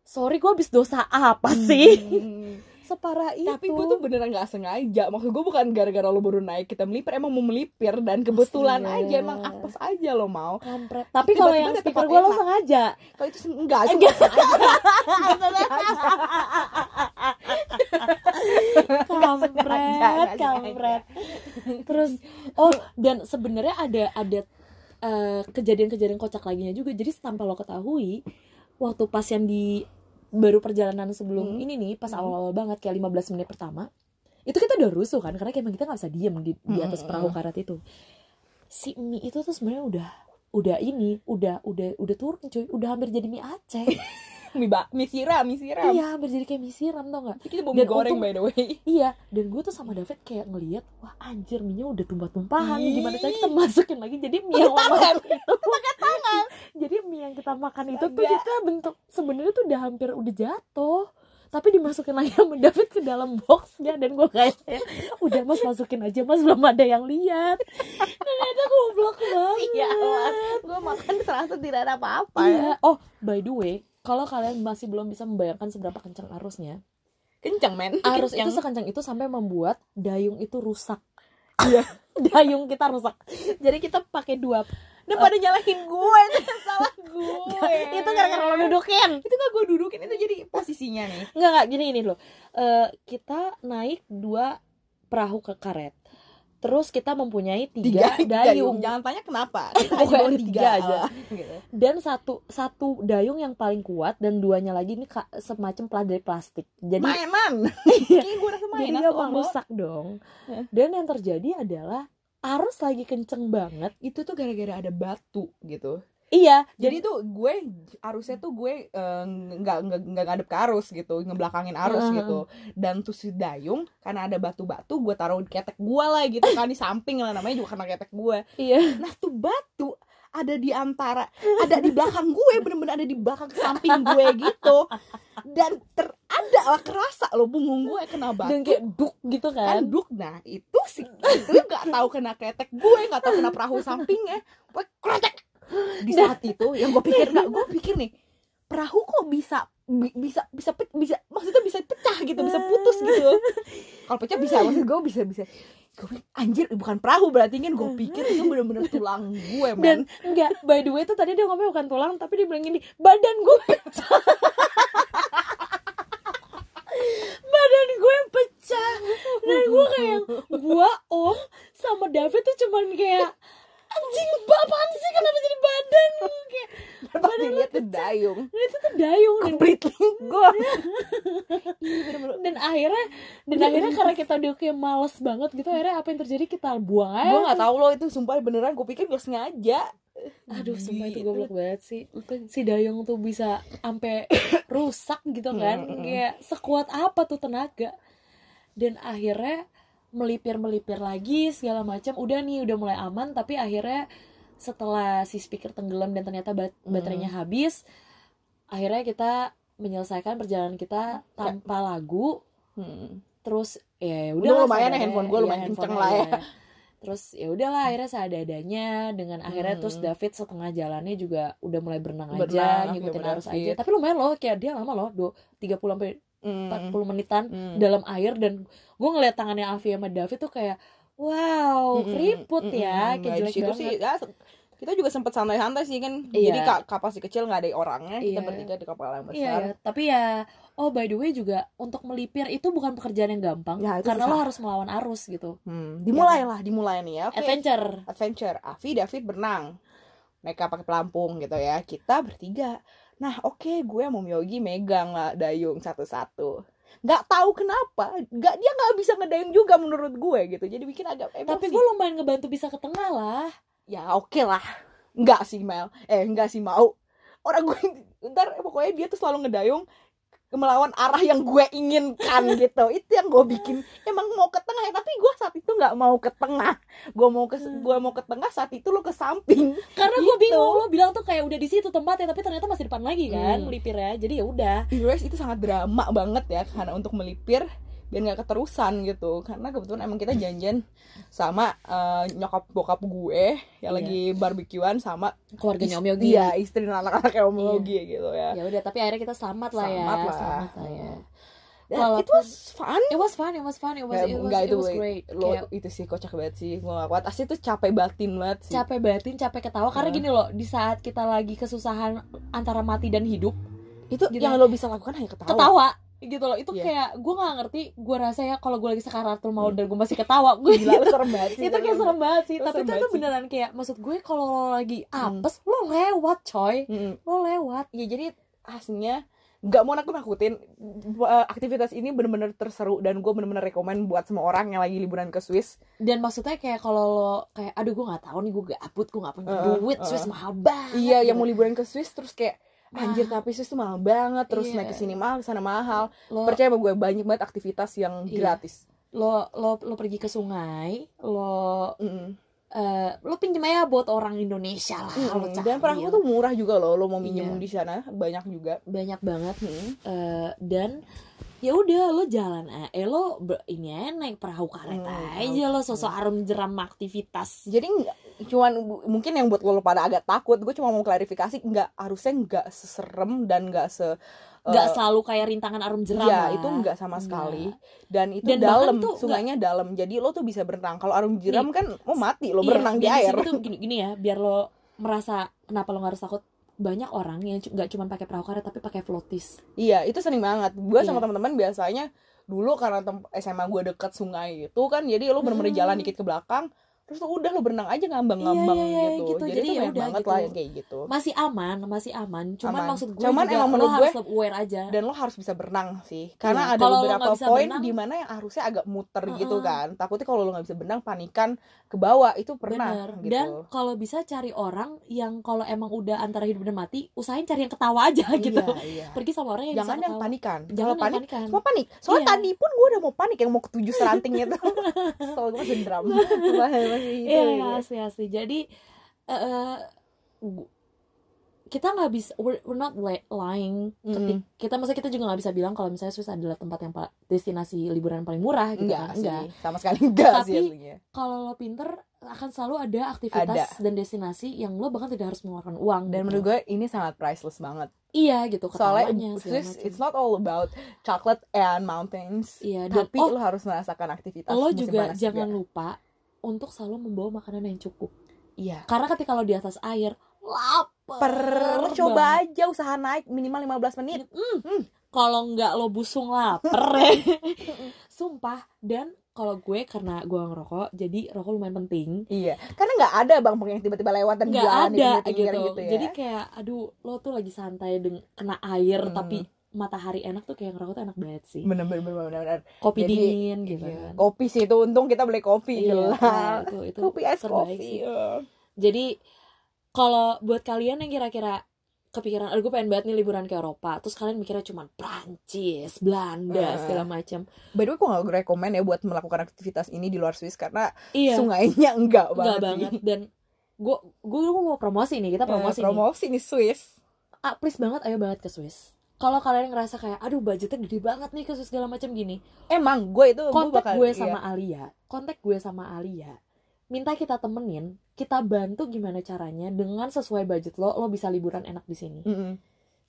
[SPEAKER 1] sorry gue habis dosa apa sih
[SPEAKER 2] Hmm.
[SPEAKER 1] separah itu
[SPEAKER 2] tapi gue tuh beneran nggak sengaja maksud gue bukan gara-gara lo baru naik kita melipir emang mau melipir
[SPEAKER 1] Iya.
[SPEAKER 2] dan kebetulan
[SPEAKER 1] Astaga.
[SPEAKER 2] aja emang apes aja lo mau
[SPEAKER 1] Kampret. tapi kalau
[SPEAKER 2] Tiba-tiba
[SPEAKER 1] yang
[SPEAKER 2] ada
[SPEAKER 1] speaker
[SPEAKER 2] tempat
[SPEAKER 1] gue lo
[SPEAKER 2] enak.
[SPEAKER 1] sengaja
[SPEAKER 2] kalau itu se- enggak sih enggak sengaja. sengaja,
[SPEAKER 1] kampret
[SPEAKER 2] nggak
[SPEAKER 1] kampret terus oh dan sebenarnya ada ada eh, kejadian-kejadian kocak lainnya juga jadi tanpa lo ketahui waktu pas yang di baru perjalanan sebelum
[SPEAKER 2] Hmm.
[SPEAKER 1] ini nih pas
[SPEAKER 2] Hmm.
[SPEAKER 1] awal-awal banget kayak 15 menit pertama itu kita udah rusuh kan karena kayak emang kita nggak bisa diem di, di
[SPEAKER 2] Hmm,
[SPEAKER 1] atas
[SPEAKER 2] hmm,
[SPEAKER 1] perahu karat itu si mie itu tuh sebenarnya udah udah ini udah udah udah turun cuy udah hampir jadi mie Aceh
[SPEAKER 2] mie ba mie siram mie siram
[SPEAKER 1] iya hampir jadi kayak mie siram tau nggak
[SPEAKER 2] Kita
[SPEAKER 1] Dan untung-
[SPEAKER 2] by the way.
[SPEAKER 1] Iya, dan gue tuh sama David kayak ngeliat, wah anjir minyak udah tumpah-tumpahan,
[SPEAKER 2] Ih.
[SPEAKER 1] gimana caranya kita masukin lagi? Jadi mie yang lama itu, jadi mie yang kita makan itu tuh
[SPEAKER 2] Astaga.
[SPEAKER 1] kita bentuk sebenarnya tuh udah hampir udah jatuh, tapi dimasukin lagi sama David ke dalam boxnya dan gue kayak udah mas masukin aja mas belum ada yang lihat. Ternyata goblok banget.
[SPEAKER 2] Iya, gue makan terasa tidak ada apa-apa.
[SPEAKER 1] Iya. Oh, by the way, kalau kalian masih belum bisa membayangkan seberapa kencang arusnya,
[SPEAKER 2] Kencang men.
[SPEAKER 1] arus itu
[SPEAKER 2] Kencang.
[SPEAKER 1] sekencang itu sampai membuat dayung itu rusak Iya, dayung kita rusak jadi kita pakai dua
[SPEAKER 2] Udah pada nyalahin gue, itu salah gue.
[SPEAKER 1] itu gara-gara lo dudukin
[SPEAKER 2] Oh, iya. Itu gak gue dudukin itu jadi posisinya nih.
[SPEAKER 1] nggak nggak gini gini loh Eh, kita naik dua perahu ke karet terus kita mempunyai tiga, dayung
[SPEAKER 2] Jangan tanya kenapa.
[SPEAKER 1] Pokoknya
[SPEAKER 2] bawa
[SPEAKER 1] tiga aja.
[SPEAKER 2] ah, gitu.
[SPEAKER 1] dan satu satu dayung yang paling kuat dan duanya lagi ini ka- semacam pla- dari plastik jadi
[SPEAKER 2] Mainan.
[SPEAKER 1] Iya.
[SPEAKER 2] Kayaknya gue rasa mainan
[SPEAKER 1] jadi
[SPEAKER 2] tuh,
[SPEAKER 1] gampang
[SPEAKER 2] Om.
[SPEAKER 1] rusak dong dan yang terjadi adalah arus lagi kenceng banget
[SPEAKER 2] Itu tuh gara-gara ada batu gitu.
[SPEAKER 1] iya
[SPEAKER 2] Jadi tuh gue arusnya tuh gue eh, nggak nggak nggak ngadep ke arus gitu, ngebelakangin arus
[SPEAKER 1] Heeh.
[SPEAKER 2] gitu. Dan tuh si dayung karena ada batu-batu gue taruh di ketek gue lah gitu kan di samping lah namanya juga karena ketek gue.
[SPEAKER 1] iya
[SPEAKER 2] Nah tuh batu ada di antara, ada di belakang gue bener-bener ada di belakang samping gue gitu. Dan ter ada lah kerasa loh punggung gue kena batu
[SPEAKER 1] dan kayak duk gitu
[SPEAKER 2] kan
[SPEAKER 1] kan
[SPEAKER 2] duk nah itu sih itu nggak tahu kena ketek gue nggak tahu kena perahu sampingnya gue kretek di saat itu ya, yang gue pikir nggak gue pikir nih perahu kok bisa bi- bisa bisa pe- bisa maksudnya bisa pecah gitu bisa putus gitu kalau pecah bisa maksud gue bisa bisa gue pikir anjir bukan perahu berarti kan gue pikir itu bener-bener tulang gue
[SPEAKER 1] dan
[SPEAKER 2] men
[SPEAKER 1] enggak by the way tuh tadi dia ngomong bukan tulang tapi dia bilang gini badan gue pecah badan gue pecah dan gue kayak gue om sama David tuh cuman kayak anjing bapak sih kenapa jadi badan kayak
[SPEAKER 2] pas dilihat tuh dayung
[SPEAKER 1] dan itu tuh dayung dan
[SPEAKER 2] completely
[SPEAKER 1] Iya,
[SPEAKER 2] gone
[SPEAKER 1] dan akhirnya dan akhirnya karena kita udah kayak males banget gitu akhirnya apa yang terjadi kita buang aja
[SPEAKER 2] gue nggak tahu loh itu sumpah beneran gue pikir gue sengaja
[SPEAKER 1] aduh sumpah itu
[SPEAKER 2] Gitu.
[SPEAKER 1] goblok banget sih si Dayong tuh bisa ampe rusak gitu kan
[SPEAKER 2] Mm-mm.
[SPEAKER 1] kayak sekuat apa tuh tenaga dan akhirnya melipir melipir lagi segala macam udah nih udah mulai aman tapi akhirnya setelah si speaker tenggelam dan ternyata bat-
[SPEAKER 2] Mm.
[SPEAKER 1] baterainya habis akhirnya kita menyelesaikan perjalanan kita tanpa lagu
[SPEAKER 2] Hmm.
[SPEAKER 1] terus ya
[SPEAKER 2] Udah
[SPEAKER 1] udah
[SPEAKER 2] lumayan ya handphone gua, lumayan kenceng lah ya.
[SPEAKER 1] terus ya udahlah akhirnya seada-adanya dengan akhirnya
[SPEAKER 2] Hmm.
[SPEAKER 1] terus David setengah jalannya juga udah mulai berenang,
[SPEAKER 2] Berenang,
[SPEAKER 1] aja ngikutin
[SPEAKER 2] sama
[SPEAKER 1] arus
[SPEAKER 2] David.
[SPEAKER 1] aja tapi lumayan loh kayak dia lama loh do 30 sampai 40 menitan
[SPEAKER 2] Hmm.
[SPEAKER 1] dalam air dan gue ngeliat tangannya Avi sama David tuh kayak wow
[SPEAKER 2] Mm-mm,
[SPEAKER 1] keriput
[SPEAKER 2] mm-mm,
[SPEAKER 1] ya
[SPEAKER 2] mm-mm.
[SPEAKER 1] kayak
[SPEAKER 2] Nah,
[SPEAKER 1] jelek
[SPEAKER 2] di situ
[SPEAKER 1] banget
[SPEAKER 2] sih ya, kita juga sempat santai-santai sih kan
[SPEAKER 1] Iya.
[SPEAKER 2] jadi ka- kapal si kecil nggak ada orangnya kita
[SPEAKER 1] Iya.
[SPEAKER 2] bertiga di kapal yang
[SPEAKER 1] Iya,
[SPEAKER 2] besar
[SPEAKER 1] iya. tapi ya, oh by the way juga untuk melipir itu bukan pekerjaan yang gampang,
[SPEAKER 2] Ya, itu
[SPEAKER 1] karena
[SPEAKER 2] susah.
[SPEAKER 1] lo harus melawan arus gitu.
[SPEAKER 2] Hmm, dimulailah dimulai nih ya oke
[SPEAKER 1] Adventure.
[SPEAKER 2] adventure Avi David berenang mereka pakai pelampung gitu ya kita bertiga nah oke gue mau Yogi megang lah dayung satu-satu nggak tahu kenapa nggak dia nggak bisa ngedayung juga menurut gue gitu jadi bikin agak emosi
[SPEAKER 1] Tapi gue lumayan ngebantu bisa ke tengah lah.
[SPEAKER 2] ya oke lah nggak sih Mel eh nggak sih mau orang gue ntar pokoknya dia tuh selalu ngedayung melawan arah yang gue inginkan gitu itu yang gue bikin emang mau ke tengah ya tapi gue saat itu nggak mau ke tengah gue mau ke
[SPEAKER 1] Hmm.
[SPEAKER 2] gue mau ke tengah saat itu lo ke samping
[SPEAKER 1] Karena gue
[SPEAKER 2] Gitu.
[SPEAKER 1] bingung lo bilang tuh kayak udah di situ tempatnya tapi ternyata masih depan lagi kan
[SPEAKER 2] Hmm.
[SPEAKER 1] melipirnya. Jadi ya udah.
[SPEAKER 2] Anyways, itu sangat drama banget ya karena untuk melipir biar nggak keterusan gitu karena kebetulan emang kita janjian sama eh, nyokap bokap gue
[SPEAKER 1] Iya.
[SPEAKER 2] yang lagi barbekyuan sama
[SPEAKER 1] Keluarganya Om
[SPEAKER 2] ist-
[SPEAKER 1] Yogi.
[SPEAKER 2] iya istri dan anak-anak Om
[SPEAKER 1] Iya.
[SPEAKER 2] Yogi gitu ya
[SPEAKER 1] Ya udah tapi akhirnya kita selamat lah ya.
[SPEAKER 2] Selamat lah.
[SPEAKER 1] Selamat lah ya.
[SPEAKER 2] Dan
[SPEAKER 1] Walaupun-
[SPEAKER 2] it was fun.
[SPEAKER 1] It was fun, it was fun, it was,
[SPEAKER 2] Nggak,
[SPEAKER 1] it was,
[SPEAKER 2] nggak,
[SPEAKER 1] it
[SPEAKER 2] itu
[SPEAKER 1] was
[SPEAKER 2] gue-
[SPEAKER 1] great.
[SPEAKER 2] Lo
[SPEAKER 1] Kayak
[SPEAKER 2] itu sih kocak banget sih. Gue gak kuat. Asli tuh capek batin banget sih.
[SPEAKER 1] capek batin, capek ketawa karena
[SPEAKER 2] Hmm.
[SPEAKER 1] gini loh, di saat kita lagi kesusahan antara mati dan hidup,
[SPEAKER 2] itu
[SPEAKER 1] gitu.
[SPEAKER 2] yang lo bisa lakukan hanya ketawa.
[SPEAKER 1] ketawa gitu loh. Itu
[SPEAKER 2] Iya.
[SPEAKER 1] kayak gue nggak ngerti, gue rasa ya kalau gue lagi sekaratul mau
[SPEAKER 2] Hmm.
[SPEAKER 1] dan gue masih ketawa, gue
[SPEAKER 2] Gila, lo serem banget sih.
[SPEAKER 1] itu kayak serem banget sih Hmm.
[SPEAKER 2] Itu
[SPEAKER 1] tapi
[SPEAKER 2] serem
[SPEAKER 1] itu
[SPEAKER 2] banget
[SPEAKER 1] tuh
[SPEAKER 2] sih.
[SPEAKER 1] beneran kayak maksud gue kalau lo lagi apes lo lewat coy
[SPEAKER 2] Mm-mm.
[SPEAKER 1] lo lewat
[SPEAKER 2] Ya jadi aslinya gak mau nakut-nakutin Eh, aktivitas ini bener-bener terseru dan gue bener-bener rekomen buat semua orang yang lagi liburan ke Swiss
[SPEAKER 1] dan maksudnya kayak kalau lo kayak aduh gue nggak tahu nih gue gabut gue nggak punya
[SPEAKER 2] Heeh,
[SPEAKER 1] duit
[SPEAKER 2] heeh.
[SPEAKER 1] Swiss mahal banget
[SPEAKER 2] iya yang mau
[SPEAKER 1] Gitu.
[SPEAKER 2] liburan ke Swiss terus kayak anjir tapi Swiss tuh mahal banget terus
[SPEAKER 1] Iya.
[SPEAKER 2] naik ke sini mahal ke sana mahal
[SPEAKER 1] lo
[SPEAKER 2] percaya sama gue banyak banget aktivitas yang
[SPEAKER 1] Iya.
[SPEAKER 2] gratis
[SPEAKER 1] lo lo lo pergi ke sungai lo
[SPEAKER 2] Mm-mm.
[SPEAKER 1] eh, lo pinjem aja buat orang Indonesia lah lo cari
[SPEAKER 2] Mm-mm. Hmm,
[SPEAKER 1] ya.
[SPEAKER 2] dan perahu tuh murah juga loh lo mau minjem
[SPEAKER 1] Iya.
[SPEAKER 2] di sana banyak juga
[SPEAKER 1] banyak banget
[SPEAKER 2] Mm.
[SPEAKER 1] eh, dan ya udah lo jalan aja eh, lo ber- ini aja naik perahu karet
[SPEAKER 2] Hmm,
[SPEAKER 1] aja lo sosok arum jeram aktivitas
[SPEAKER 2] jadi nggak- cuman bu- mungkin yang buat lo pada agak takut gue cuma mau klarifikasi nggak harusnya nggak seserem dan nggak se
[SPEAKER 1] nggak
[SPEAKER 2] eh,
[SPEAKER 1] selalu kayak rintangan arum jeram lah.
[SPEAKER 2] iya itu nggak sama
[SPEAKER 1] Nggak.
[SPEAKER 2] sekali dan itu
[SPEAKER 1] Dan bahkan
[SPEAKER 2] dalam
[SPEAKER 1] tuh nggak-
[SPEAKER 2] sungainya dalam jadi lo tuh bisa berenang kalau arum jeram kan mau mati lo
[SPEAKER 1] Iya,
[SPEAKER 2] berenang di
[SPEAKER 1] dan
[SPEAKER 2] air
[SPEAKER 1] sini tuh gini, gini ya biar lo merasa kenapa lo nggak harus takut banyak orang yang cu- nggak cuma pakai perahu karet tapi pakai flotis
[SPEAKER 2] iya itu sering banget gue
[SPEAKER 1] Iya.
[SPEAKER 2] sama teman-teman biasanya dulu karena tem- SMA gue deket sungai gitu kan jadi lo bener-bener
[SPEAKER 1] Hmm.
[SPEAKER 2] jalan dikit ke belakang terus tuh udah lo berenang aja ngambang-ngambang
[SPEAKER 1] Iya, iya, iya,
[SPEAKER 2] gitu.
[SPEAKER 1] gitu.
[SPEAKER 2] jadi,
[SPEAKER 1] Jadi
[SPEAKER 2] tuh
[SPEAKER 1] ya
[SPEAKER 2] banyak
[SPEAKER 1] udah
[SPEAKER 2] banget
[SPEAKER 1] gitu.
[SPEAKER 2] lah yang kayak gitu
[SPEAKER 1] masih aman masih aman cuman
[SPEAKER 2] Aman.
[SPEAKER 1] maksud gue
[SPEAKER 2] Cuman
[SPEAKER 1] juga
[SPEAKER 2] emang
[SPEAKER 1] lo
[SPEAKER 2] menurut
[SPEAKER 1] harus
[SPEAKER 2] gue-
[SPEAKER 1] lebih aware aja
[SPEAKER 2] dan lo harus bisa berenang sih karena
[SPEAKER 1] Iya,
[SPEAKER 2] ada
[SPEAKER 1] kalau lo
[SPEAKER 2] beberapa
[SPEAKER 1] nggak bisa
[SPEAKER 2] poin
[SPEAKER 1] berenang-
[SPEAKER 2] di mana yang harusnya agak muter
[SPEAKER 1] Heeh.
[SPEAKER 2] gitu kan takutnya kalau lo nggak bisa berenang panikan ke bawah itu
[SPEAKER 1] bener
[SPEAKER 2] pernah gitu
[SPEAKER 1] dan kalau bisa cari orang yang kalau emang udah antara hidup dan mati usahain cari yang ketawa aja gitu
[SPEAKER 2] iya, iya.
[SPEAKER 1] pergi sama orang yang
[SPEAKER 2] jangan
[SPEAKER 1] bisa
[SPEAKER 2] yang
[SPEAKER 1] ketawa
[SPEAKER 2] panikan
[SPEAKER 1] jangan
[SPEAKER 2] jangan
[SPEAKER 1] yang
[SPEAKER 2] panik
[SPEAKER 1] panikan
[SPEAKER 2] semua panik soalnya
[SPEAKER 1] Iya.
[SPEAKER 2] tadi pun gue udah mau panik yang mau ketujuh seranting itu soalnya gue masih drum masih itu
[SPEAKER 1] Iya, iya, asli asli. Jadi eh, eh, gu- kita nggak bisa we're, we're not li- lying ketik-
[SPEAKER 2] Mm-mm.
[SPEAKER 1] kita maksudnya kita juga nggak bisa bilang kalau misalnya Swiss adalah tempat yang pa- destinasi liburan paling murah gitu
[SPEAKER 2] enggak
[SPEAKER 1] kan.
[SPEAKER 2] sih
[SPEAKER 1] enggak
[SPEAKER 2] sama sekali enggak sih
[SPEAKER 1] Tapi-
[SPEAKER 2] aslinya
[SPEAKER 1] kalau lo pinter akan selalu ada aktivitas dan destinasi yang lo bahkan tidak harus mengeluarkan uang
[SPEAKER 2] dan
[SPEAKER 1] gitu.
[SPEAKER 2] menurut gue ini sangat priceless banget
[SPEAKER 1] iya gitu ketawanya
[SPEAKER 2] soalnya
[SPEAKER 1] segala
[SPEAKER 2] Swiss
[SPEAKER 1] macam.
[SPEAKER 2] it's not all about chocolate and mountains
[SPEAKER 1] iya dan
[SPEAKER 2] tapi
[SPEAKER 1] oh,
[SPEAKER 2] lo harus merasakan aktivitas
[SPEAKER 1] lo
[SPEAKER 2] musim
[SPEAKER 1] juga
[SPEAKER 2] panas
[SPEAKER 1] jangan lupa untuk selalu membawa makanan yang cukup
[SPEAKER 2] iya
[SPEAKER 1] karena ketika lo di atas air lapar
[SPEAKER 2] per
[SPEAKER 1] banget.
[SPEAKER 2] coba aja usaha naik minimal 15 menit
[SPEAKER 1] Hmm, kalau nggak lo busung lapar ya. sumpah dan kalau gue karena gue ngerokok jadi rokok lumayan penting
[SPEAKER 2] iya karena nggak ada bang pokoknya yang tiba-tiba lewat dan
[SPEAKER 1] nggak ada gitu.
[SPEAKER 2] gitu, gitu ya.
[SPEAKER 1] jadi kayak aduh lo tuh lagi santai dengan kena air
[SPEAKER 2] Hmm.
[SPEAKER 1] tapi matahari enak tuh kayak ngerokok tuh enak banget sih
[SPEAKER 2] bener bener bener bener, bener.
[SPEAKER 1] kopi
[SPEAKER 2] Jadi,
[SPEAKER 1] dingin gitu
[SPEAKER 2] Iya.
[SPEAKER 1] kan
[SPEAKER 2] kopi sih itu untung kita beli kopi
[SPEAKER 1] Iya,
[SPEAKER 2] gila.
[SPEAKER 1] nah, itu itu
[SPEAKER 2] kopi es
[SPEAKER 1] terbaik
[SPEAKER 2] kopi
[SPEAKER 1] sih.
[SPEAKER 2] iya.
[SPEAKER 1] jadi kalau buat kalian yang kira-kira kepikiran aduh gue pengen banget nih liburan ke Eropa terus kalian mikirnya cuman Prancis Belanda
[SPEAKER 2] Eh.
[SPEAKER 1] segala macam
[SPEAKER 2] by the way gue nggak rekomend ya buat melakukan aktivitas ini di luar Swiss karena
[SPEAKER 1] iya
[SPEAKER 2] sungainya enggak
[SPEAKER 1] enggak
[SPEAKER 2] banget,
[SPEAKER 1] banget
[SPEAKER 2] sih. Iya,
[SPEAKER 1] dan gue gue mau promosi nih kita
[SPEAKER 2] Eh,
[SPEAKER 1] promosi nih
[SPEAKER 2] promosi nih Swiss
[SPEAKER 1] ah, please banget ayo banget ke Swiss kalau kalian ngerasa kayak aduh budgetnya gede banget nih ke Swiss segala macam gini
[SPEAKER 2] emang gue itu gua
[SPEAKER 1] kontak
[SPEAKER 2] bakal-
[SPEAKER 1] gue
[SPEAKER 2] iya.
[SPEAKER 1] sama Alia kontak gue sama Alia minta kita temenin kita bantu gimana caranya dengan sesuai budget lo lo bisa liburan enak di sini
[SPEAKER 2] Mm-mm.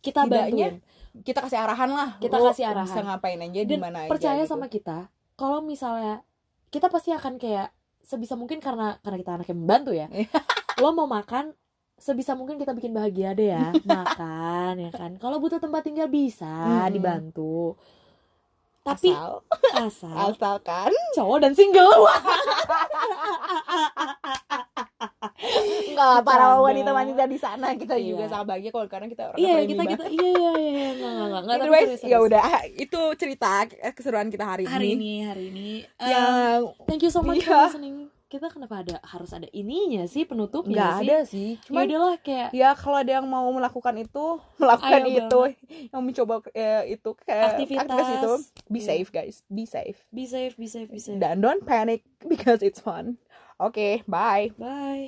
[SPEAKER 1] kita
[SPEAKER 2] Tidaknya,
[SPEAKER 1] bantuin
[SPEAKER 2] kita kasih arahan lah
[SPEAKER 1] Kita
[SPEAKER 2] lo
[SPEAKER 1] kasih arahan.
[SPEAKER 2] bisa ngapain aja di
[SPEAKER 1] dan
[SPEAKER 2] mana aja
[SPEAKER 1] percaya
[SPEAKER 2] gitu.
[SPEAKER 1] sama kita kalau misalnya kita pasti akan kayak sebisa mungkin karena karena kita anak yang membantu ya
[SPEAKER 2] Iya.
[SPEAKER 1] lo mau makan sebisa mungkin kita bikin bahagia deh ya makan ya kan kalau butuh tempat tinggal bisa
[SPEAKER 2] Mm-mm.
[SPEAKER 1] dibantu tapi
[SPEAKER 2] Hmm. asal, kan.
[SPEAKER 1] asal,
[SPEAKER 2] asalkan
[SPEAKER 1] cowok dan single
[SPEAKER 2] enggak lah, para
[SPEAKER 1] Bercanda.
[SPEAKER 2] wanita-wanita di sana kita
[SPEAKER 1] Iya.
[SPEAKER 2] juga sama bahagia kalau karena kita orang
[SPEAKER 1] iya
[SPEAKER 2] friendly
[SPEAKER 1] kita
[SPEAKER 2] banget.
[SPEAKER 1] kita iya iya iya iya. nggak nggak nggak nggak tapi
[SPEAKER 2] Anyways,
[SPEAKER 1] serius, serius.
[SPEAKER 2] ya udah itu cerita eh, keseruan kita hari,
[SPEAKER 1] hari
[SPEAKER 2] ini.
[SPEAKER 1] ini hari ini Eh,
[SPEAKER 2] yang
[SPEAKER 1] thank you so much
[SPEAKER 2] iya.
[SPEAKER 1] for listening kita kenapa ada harus ada ininya sih penutupnya
[SPEAKER 2] nggak
[SPEAKER 1] iya sih
[SPEAKER 2] ada sih,
[SPEAKER 1] ya
[SPEAKER 2] cuman
[SPEAKER 1] udahlah kayak
[SPEAKER 2] ya kalau ada yang mau melakukan itu melakukan
[SPEAKER 1] Ayo
[SPEAKER 2] itu yang mencoba eh, itu kayak
[SPEAKER 1] Aktivitas.
[SPEAKER 2] itu be
[SPEAKER 1] Iya.
[SPEAKER 2] safe guys be safe
[SPEAKER 1] be safe be safe be safe
[SPEAKER 2] dan don't panic because it's fun oke bye
[SPEAKER 1] bye